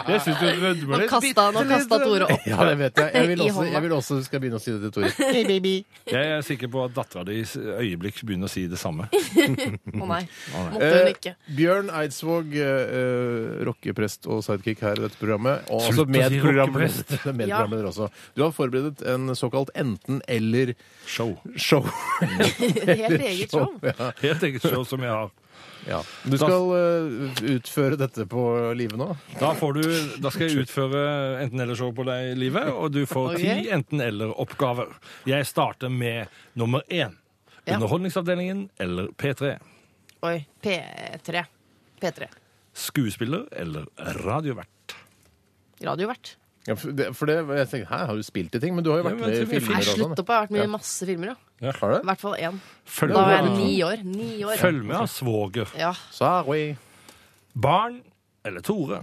Jeg syns du rødmer
Nå kasta, nå kasta Tore [laughs] opp.
Ja, det vet jeg. Jeg vil
I
også,
hånda.
jeg vil også skal begynne å si det til
[laughs]
Tore.
Jeg er sikker på at dattera di i øyeblikk begynner å si det samme.
Å nei. Måtte hun ikke.
Eh, Bjørn Eidsvåg, eh, eh, rockeprest og sidekick her i dette programmet. Og også
Slutt å si
medprogramleder
rockeprest.
[laughs] Det er medprogramleder også. Du har forberedt en såkalt enten-eller-show.
Show.
Helt eget show.
Helt eget show som jeg har.
Ja. Du skal eh, utføre dette på livet nå?
Da, får du, da skal jeg utføre enten-eller-show på deg i livet, og du får
Ok.
ti enten-eller-oppgaver. Jeg starter med nummer én.
Ja.
Underholdningsavdelingen eller P3?
Oi. P3. P3.
Skuespiller eller radiovert?
Radiovert.
Ja, for det, for det jeg tenkte, Hæ, har du spilt i ting? Men du har jo
Ja,
vært
men
med i
jeg tror vi
filmer
Nei,
og sånn.
slutt opp. Jeg har vært med i masse filmer, ja.
Har
I
du?
hvert fall én.
Følg
Da var jeg
med,
ni år. Ni år.
følg med av svoger.
Ja.
Sorry.
Barn eller Tore?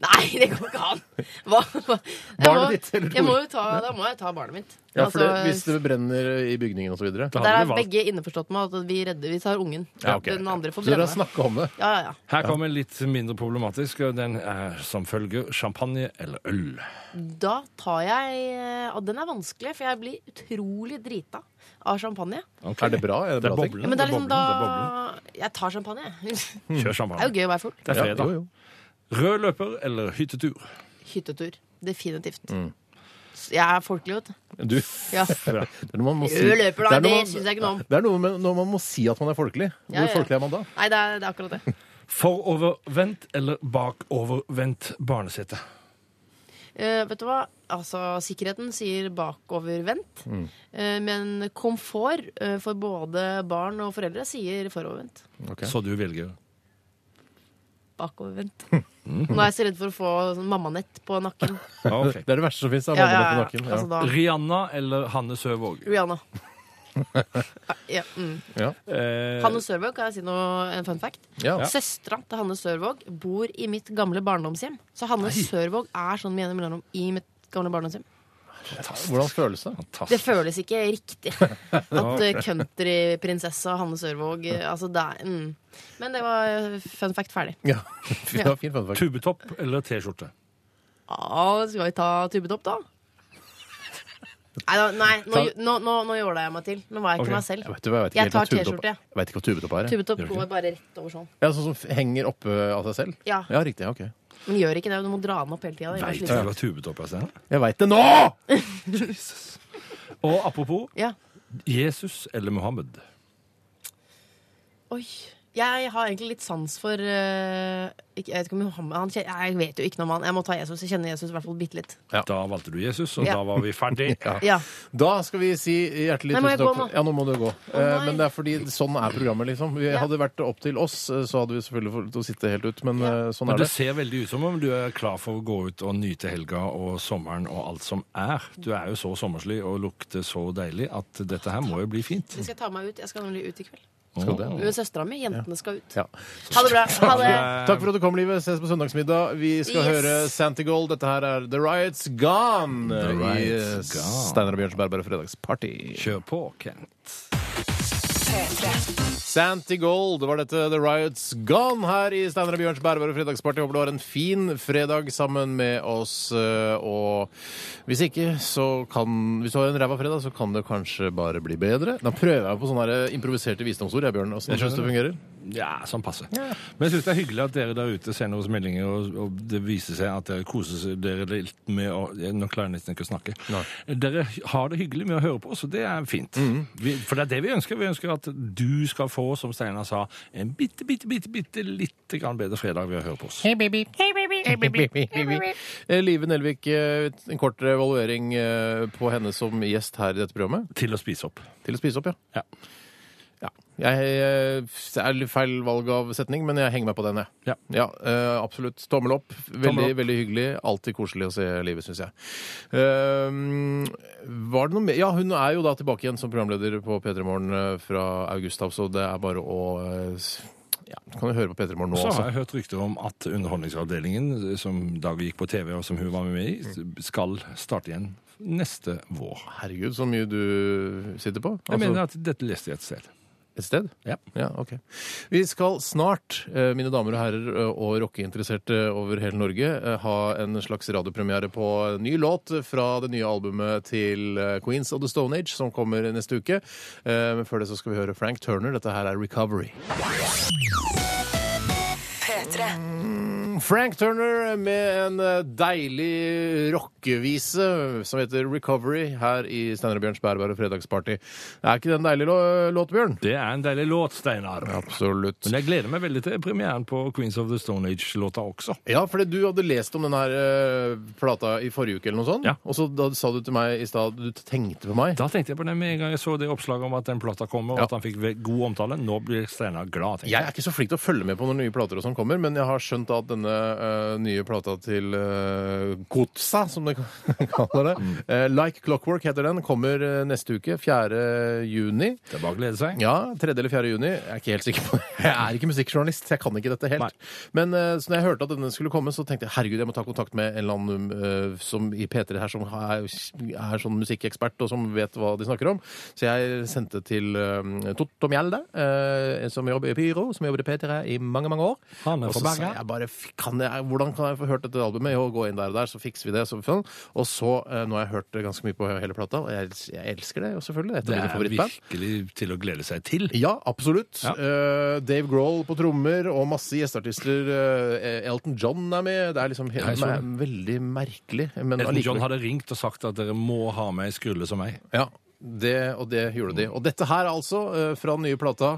Nei, det går ikke an! Hva? hva- Jeg
Barnet
må-
ditt eller
Jeg må
Tore?
jo ta, da må jeg ta barnet mitt.
Ja, for det,
Altså,
hvis det brenner i bygningen og så videre.
Da
Der
hadde
er
vi valgt.
begge innforstått med at vi redder, vi tar ungen.
Ja, ok.
Den andre
Så
får
dere
brenne.
har snakka om det.
Ja, ja, ja.
Her kommer en litt mindre problematisk. og Den er som følger champagne eller øl.
Da tar jeg eh, Og den er vanskelig, for jeg blir utrolig drita av champagne.
Ok.
Er det bra? Er det,
Det er
bra ting?
boblen.
Ja, men det er
boblen,
liksom
det er boblen.
da Jeg tar champagne, jeg. [laughs] Det
Kjør
er jo
champagne.
gøy å være full.
Det er
Ja,
fredag.
jo, jo.
Rød løper eller hyttetur?
Hyttetur. Definitivt. S- Jeg er folkelig, vet du.
Du,
Ja.
[laughs] det er noe man må si.
Rød løper, da.
er noe
Det
man-
syns jeg ikke noe om.
Det er noe med når man må si at man er folkelig. Hvor
Ja, ja, ja.
folkelig er man da?
Nei, det er, det er akkurat [laughs] det.
Forovervendt eller bakovervendt barnesete?
Eh, vet du hva? Altså, Sikkerheten sier bakovervendt, eh, men komfort eh, for både barn og foreldre sier forovervendt.
Ok.
Så du velger
[laughs] Bakovervendt. Nå er jeg så redd for å få sånn mammanett på nakken.
Ok.
Det er det verste som fins.
[laughs] Ja, ja, ja. Altså, da.
Rihanna eller Hanne Søvåg?
[laughs] Rihanna. Ja, mm.
Eh,
Hanne Sørvåg, kan jeg si noe, en fun fact?
Ja.
Ja.
Søstera til Hanne Sørvåg bor i mitt gamle barndomshjem. Så Hanne Sørvåg er sånn med jevne mellomrom i mitt gamle barndomshjem.
Hvordan føles det?
Det
fantastisk.
føles ikke
[laughs]
riktig at eh, countryprinsessa Hanne Sørvåg eh, Altså, det er mm. Men det var eh, fun fact ferdig.
[laughs] Ja. Det var fint, fun fact.
Tubetopp eller T-skjorte?
Ah, skal vi ta tubetopp, da? [laughs] Nei, da, nei nå, nå, nå, nå jåla jeg meg til. Nå var jeg
Ok.
ikke meg
Jeg
selv.
vet, du hva, jeg vet ikke
Jeg
helt hva
tar
tubetopp-
T-skjorte, jeg.
Jeg vet ikke hva tubetopp er. jeg.
Tubetopp går bare rett over sånn.
Ja, sånn som f- henger oppe av seg selv?
Ja.
Ja, riktig. ja, ok.
Men gjør ikke det. Du må dra den opp hele tida.
Veit du hva tubetopp er? Steinar?
Jeg veit det nå!
Og apropos
Ja.
Jesus eller Mohammed?
Oi. Jeg har egentlig litt sans for eh, ikke, Jeg vet ikke om Johanne- han, kje- Jeg vet jo ikke noe om han. Jeg må ta Jesus. Jeg kjenner Jesus i hvert fall bitte litt.
Ja.
Da valgte du Jesus, og
Ja.
da var vi ferdig.
Ja.
Da skal vi si hjertelig
Nei, må jeg
tusen takk.
gå
for-
nå?
Ja, nå må du gå. Eh,
nei.
Men det er fordi sånn er programmet, liksom. Vi hadde vært opp til oss, eh, så hadde vi selvfølgelig fått til å sitte helt ut, men eh, sånn
Men
er
det
det.
ser veldig ut som om du er klar for å gå ut og nyte helga og sommeren og alt som er. Du er jo så sommerslig og lukter så deilig at dette her må jo bli fint.
Nå skal jeg ta meg ut. Jeg skal nemlig ut i kveld.
Skal det?
Med søstera mi. Jentene skal ut.
Ja.
Ha det bra. Ha det.
Takk for at du kom, Livet. Ses på søndagsmiddag. Vi skal
Yes.
høre Santigol. Dette her er The Riots Gone.
The Riots
i, eh,
Gone.
Steinar og Bjørns Berber og Fredagsparty.
Kjør på, Kent.
Santi Gold var dette The Riots Gone her i Steinar og Bjørns Bærbar og Fredagsparty. Håper du har en fin fredag sammen med oss. eh, Og hvis ikke, så kan Hvis du har en ræva fredag, så kan det kanskje bare bli bedre. Da prøver jeg på sånne her eh, improviserte visdomsord, jeg, Bjørn. Åssen syns du det fungerer?
Ja, sånn passe. Men jeg syns det er hyggelig at dere der ute sender oss meldinger, og, og det viser seg at dere koser seg- dere litt med å ja, Nå klarer jeg nesten ikke å snakke. Dere har det hyggelig med å høre på oss, og det er fint.
Mhm.
Vi, for det er det vi ønsker. Vi ønsker at du skal få, som Steinar sa, en bitte, bitte, bitte, bitte lite grann bedre fredag ved å høre på oss.
Eh, Live Nelvik, eh, en kort evaluering eh, på henne som gjest her i dette programmet.
Til å spise opp.
Til å spise opp, ja.
Ja.
Ja. Jeg eh, det er litt feil valg av setning, men jeg henger meg på den, jeg.
Ja.
eh, absolutt. Tommel opp. Veldig,
Tommel opp.
veldig hyggelig. Alltid koselig å se livet, syns jeg. Eh, var det noe mer Ja, hun er jo da tilbake igjen som programleder på P3 Morgen eh, fra august av, så det er bare å eh, s- ja, kan du høre på P3 Morgen nå,
Så har
altså.
jeg hørt rykter om at Underholdningsavdelingen, som Dag gikk på TV, og som hun var med i,
Mm.
skal starte igjen neste vår.
Herregud, så mye du sitter på.
Jeg
Altså,
mener at dette leste jeg et sted.
et sted?
Ja.
Ja, ok. Vi skal snart, eh, mine damer og herrer eh, og rockeinteresserte over hele Norge, eh, ha en slags radiopremiere på en ny låt fra det nye albumet til eh, Queens of the Stone Age, som kommer neste uke. Eh, Men før det så skal vi høre Frank Turner. Dette her er Recovery. Mm, Frank Turner med en eh, deilig rockevise som heter Recovery her i Steinar og Bjørns bærbare fredagsparty. Er ikke det en deilig lå- låt, Bjørn?
Det er en deilig låt, Steinar.
Absolutt.
Men jeg gleder meg veldig til premieren på Queens of the Stone Age-låta også.
Ja, fordi du hadde lest om den her eh, plata i forrige uke eller noe sånt.
Ja.
Og så da sa du til meg i stad du tenkte på meg.
Da tenkte jeg på det med en gang jeg så det oppslaget om at den plata kommer, og
Ja.
at han fikk ve- god omtale. Nå blir Steinar glad. tenker
Jeg er ikke så flink til å følge med på når nye plater og sånn kommer, men jeg har skjønt at denne eh, nye plata til uh, Kotsa, som de [laughs] kaller det,
Mm.
eh, Like Clockwork heter den, kommer eh, neste uke, 4. juni.
Det er bare å glede seg.
Ja, 3. eller 4. juni. Jeg er ikke helt sikker på [laughs] det. Jeg er ikke musikkjournalist, så jeg kan ikke dette helt.
Nei.
Men eh, så når jeg hørte at denne skulle komme, så tenkte jeg herregud, jeg må ta kontakt med en eller annen eh, som i P3 her som er, er sånn musikkekspert, og som vet hva de snakker om. Så jeg sendte til eh, Totto Mjelde, eh, som jobber i Pyro, som jobber i P3 i mange, mange år.
Han er
Og så
fra
sa
Bergen.
jeg bare "Fy, kan jeg, Hvordan kan jeg få hørt dette albumet? Jo, gå inn der og der, så fikser vi det. Så, sånn. Og så, eh, nå har jeg hørt ganske mye på hele plata, og jeg, jeg elsker det jo selvfølgelig. Det er et
Det
av mine
er
favorittband.
virkelig til å glede seg til.
Ja, absolutt.
Ja.
Eh, Dave Grohl på trommer og masse gjesteartister. Eh, Elton John er med. Det er liksom
jeg så det.
me- veldig merkelig. Men
Elton John
allikevel-
hadde ringt og sagt at dere må ha med ei skrulle som meg.
ja, det, og det gjorde de. Og dette her altså, eh, fra den nye plata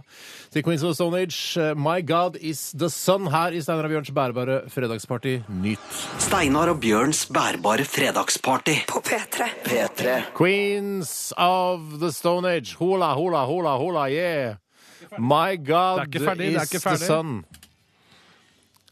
til Queens of the Stone Age, eh, My God Is The Sun, her i Steinar og Bjørns bærbare fredagsparty. Nyt.
Steinar og Bjørns bærbare fredagsparty. På P3. P3.
Queens of the Stone Age. Hola, hola, hola, hola, yeah. My God
Det er ikke ferdig, det er
is
ikke
the
ferdig.
sun.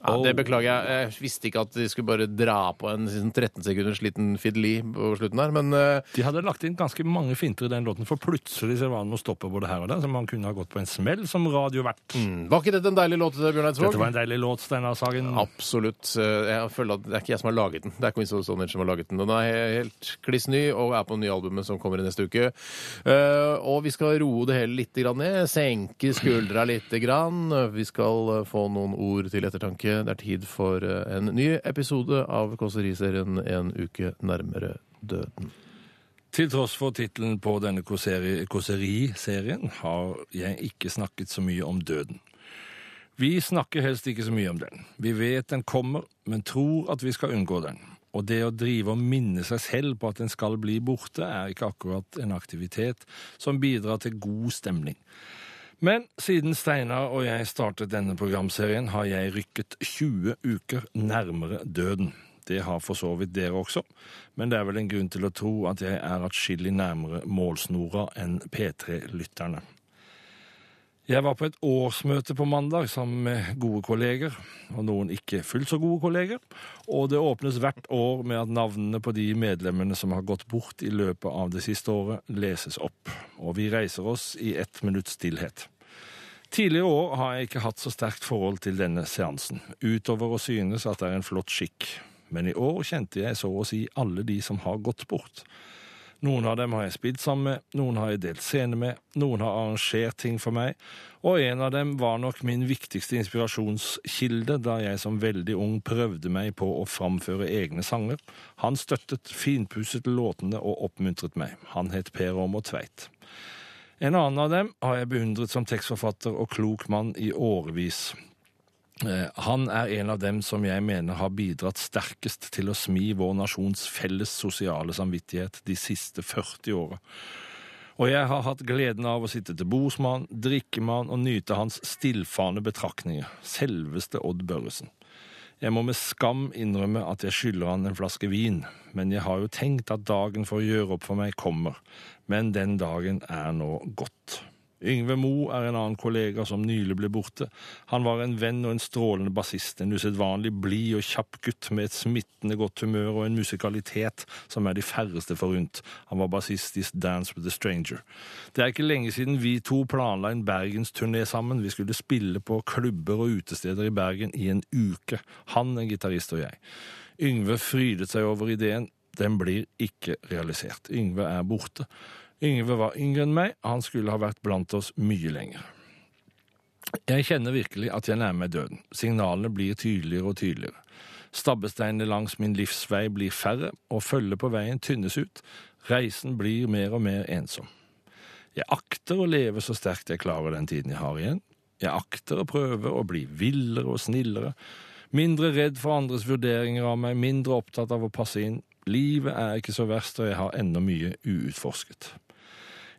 Ja,
Oh.
det beklager jeg. Jeg visste ikke at de skulle bare dra på en sånn 13 sekunders liten fiddeli på slutten her, men eh,
De hadde lagt inn ganske mange finter i den låten, for plutselig så var det noe stoppe både her og der, så man kunne ha gått på en smell som radiovert.
var ikke dette en deilig låt, Bjørn
Dette var
Eidsvåg?
en deilig låt, Steinar Sagen.
Absolutt. Eh, Jeg føler at Det er ikke jeg som har laget den. Det er Queens of the Stone Age som har laget den. Den er he- helt kliss ny og er på nye albumet som kommer i neste uke. Eh, Og vi skal roe det hele litt grann ned. Senke skuldra litt. Grann. Vi skal eh, få noen ord til ettertanke. Det er tid for eh, en ny episode av Kåseri-serien En uke nærmere døden.
Til tross for tittelen på denne kåseri- kåseri-serien har jeg ikke snakket så mye om døden. Vi snakker helst ikke så mye om den. Vi vet den kommer, men tror at vi skal unngå den. Og det å drive og minne seg selv på at en skal bli borte, er ikke akkurat en aktivitet som bidrar til god stemning. Men siden Steinar og jeg startet denne programserien, har jeg rykket 20 uker nærmere døden. Det har for så vidt dere også, men det er vel en grunn til å tro at jeg er atskillig nærmere målsnora enn P3-lytterne. Jeg var på et årsmøte på mandag sammen med gode kolleger, og noen ikke fullt så gode kolleger, og det åpnes hvert år med at navnene på de medlemmene som har gått bort i løpet av det siste året, leses opp, og vi reiser oss i ett minutts stillhet. Tidligere år har jeg ikke hatt så sterkt forhold til denne seansen, utover å synes at det er en flott skikk. Men i år kjente jeg så å si alle de som har gått bort. Noen av dem har jeg spilt sammen med, noen har jeg delt scene med, noen har arrangert ting for meg, og en av dem var nok min viktigste inspirasjonskilde da jeg som veldig ung prøvde meg på å framføre egne sanger. Han støttet, finpusset låtene og oppmuntret meg. Han het Per Åmer Tveit. En annen av dem har jeg beundret som tekstforfatter og klok mann i årevis. Eh, Han er en av dem som jeg mener har bidratt sterkest til å smi vår nasjons felles sosiale samvittighet de siste 40 åra. Og jeg har hatt gleden av å sitte til bords med han, drikke med han og nyte hans stillfane betraktninger. Selveste Odd Børresen. Jeg må med skam innrømme at jeg skylder han en flaske vin, men jeg har jo tenkt at dagen for å gjøre opp for meg kommer, men den dagen er nå gått. Yngve Mo er en annen kollega som nylig ble borte. Han var en venn og en strålende bassist, en usedvanlig blid og kjapp gutt med et smittende godt humør og en musikalitet som er de færreste forunt. Han var bassist i Dance with a Stranger. Det er ikke lenge siden vi to planla en bergensturné sammen. Vi skulle spille på klubber og utesteder i Bergen i en uke. Han, en gitarist og jeg. Yngve frydet seg over ideen. Den blir ikke realisert. Yngve er borte. Yngve var yngre enn meg. Han skulle ha vært blant oss mye lenger. Jeg kjenner virkelig at jeg nærmer meg døden. Signalene blir tydeligere og tydeligere. Stabbesteinene langs min livsvei blir færre, og følget på veien tynnes ut. Reisen blir mer og mer ensom. Jeg akter å leve så sterkt jeg klarer den tiden jeg har igjen. Jeg akter å prøve å bli villere og snillere, Mindre redd for andres vurderinger av meg, mindre opptatt av å passe inn. Livet er ikke så verst, og jeg har ennå mye uutforsket.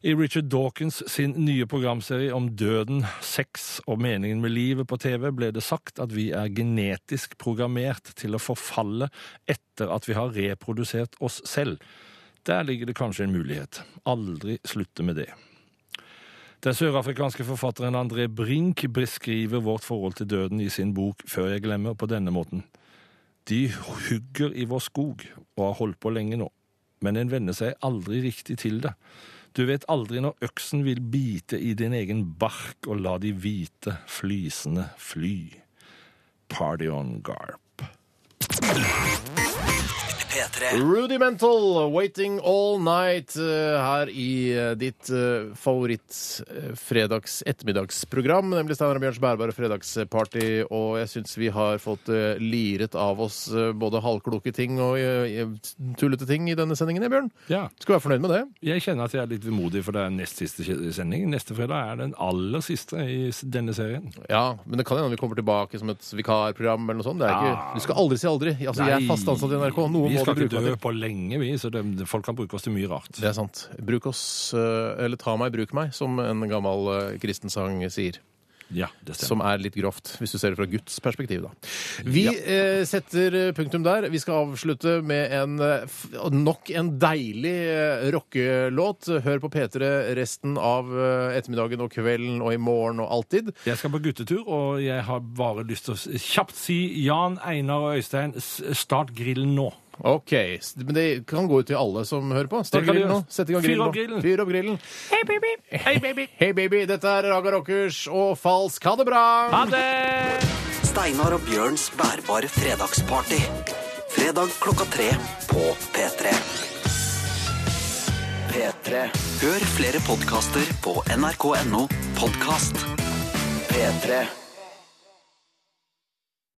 I Richard Dawkins sin nye programserie om døden, sex og meningen med livet på TV ble det sagt at vi er genetisk programmert til å forfalle etter at vi har reprodusert oss selv. Der ligger det kanskje en mulighet. Aldri slutte med det. Den sørafrikanske forfatteren André Brink beskriver vårt forhold til døden i sin bok Før jeg glemmer på denne måten. De hugger i vår skog og har holdt på lenge nå, men en venner seg aldri riktig til det. Du vet aldri når øksen vil bite i din egen bark og la de hvite flisene fly. Party on, Garp.
P3.
Rudimental, 'Waiting All Night', eh, her i eh, ditt eh, favoritt-fredags-ettermiddagsprogram, nemlig Steinar og Bjørns bærbare fredagsparty. Og jeg syns vi har fått eh, liret av oss eh, både halvkloke ting og eh, tullete ting i denne sendingen, jeg, Bjørn.
Ja,
Skal være fornøyd med det.
jeg kjenner at jeg er litt vemodig, for det er nest siste sending. Neste fredag er den aller siste i denne serien.
Ja, Men det kan hende vi kommer tilbake som et vikarprogram eller noe sånt. Det er
Ja.
ikke, du skal aldri si aldri. Altså, jeg er fast ansatt i NRK. Noe må
vi
du
skal
bruke
ikke
meg
dø
til.
på lenge, vi, så det, folk kan bruke oss til mye rart.
Det er sant. Bruk oss, eh, eller ta meg, bruk meg, som en gammel eh, kristen sang sier.
Ja, det stemmer.
Som er litt grovt, hvis du ser det fra Guds perspektiv, da. Vi eh, setter eh, punktum der. Vi skal avslutte med en, eh, f- nok en deilig eh, rockelåt. Hør på P3 resten av eh, ettermiddagen og kvelden og i morgen og alltid.
Jeg skal på guttetur, og jeg har bare lyst til å s- kjapt si Jan, Einar og Øystein, s- start grillen nå.
OK. s- Men det kan gå ut til alle som hører på. Start
Det kan
grillen
de
nå.
gjøre.
Sett i gang
Fyr
grillen
opp
nå.
grillen.
Fyr opp grillen.
Hei, baby! Hei, baby!
Hei, baby. Dette er Raga Rockers og Falsk. Ha det bra!
Ha det!
Steinar og Bjørns bærbare fredagsparty. Fredag klokka tre på P3. P3. Hør flere podkaster på nrk.no podkast. P3.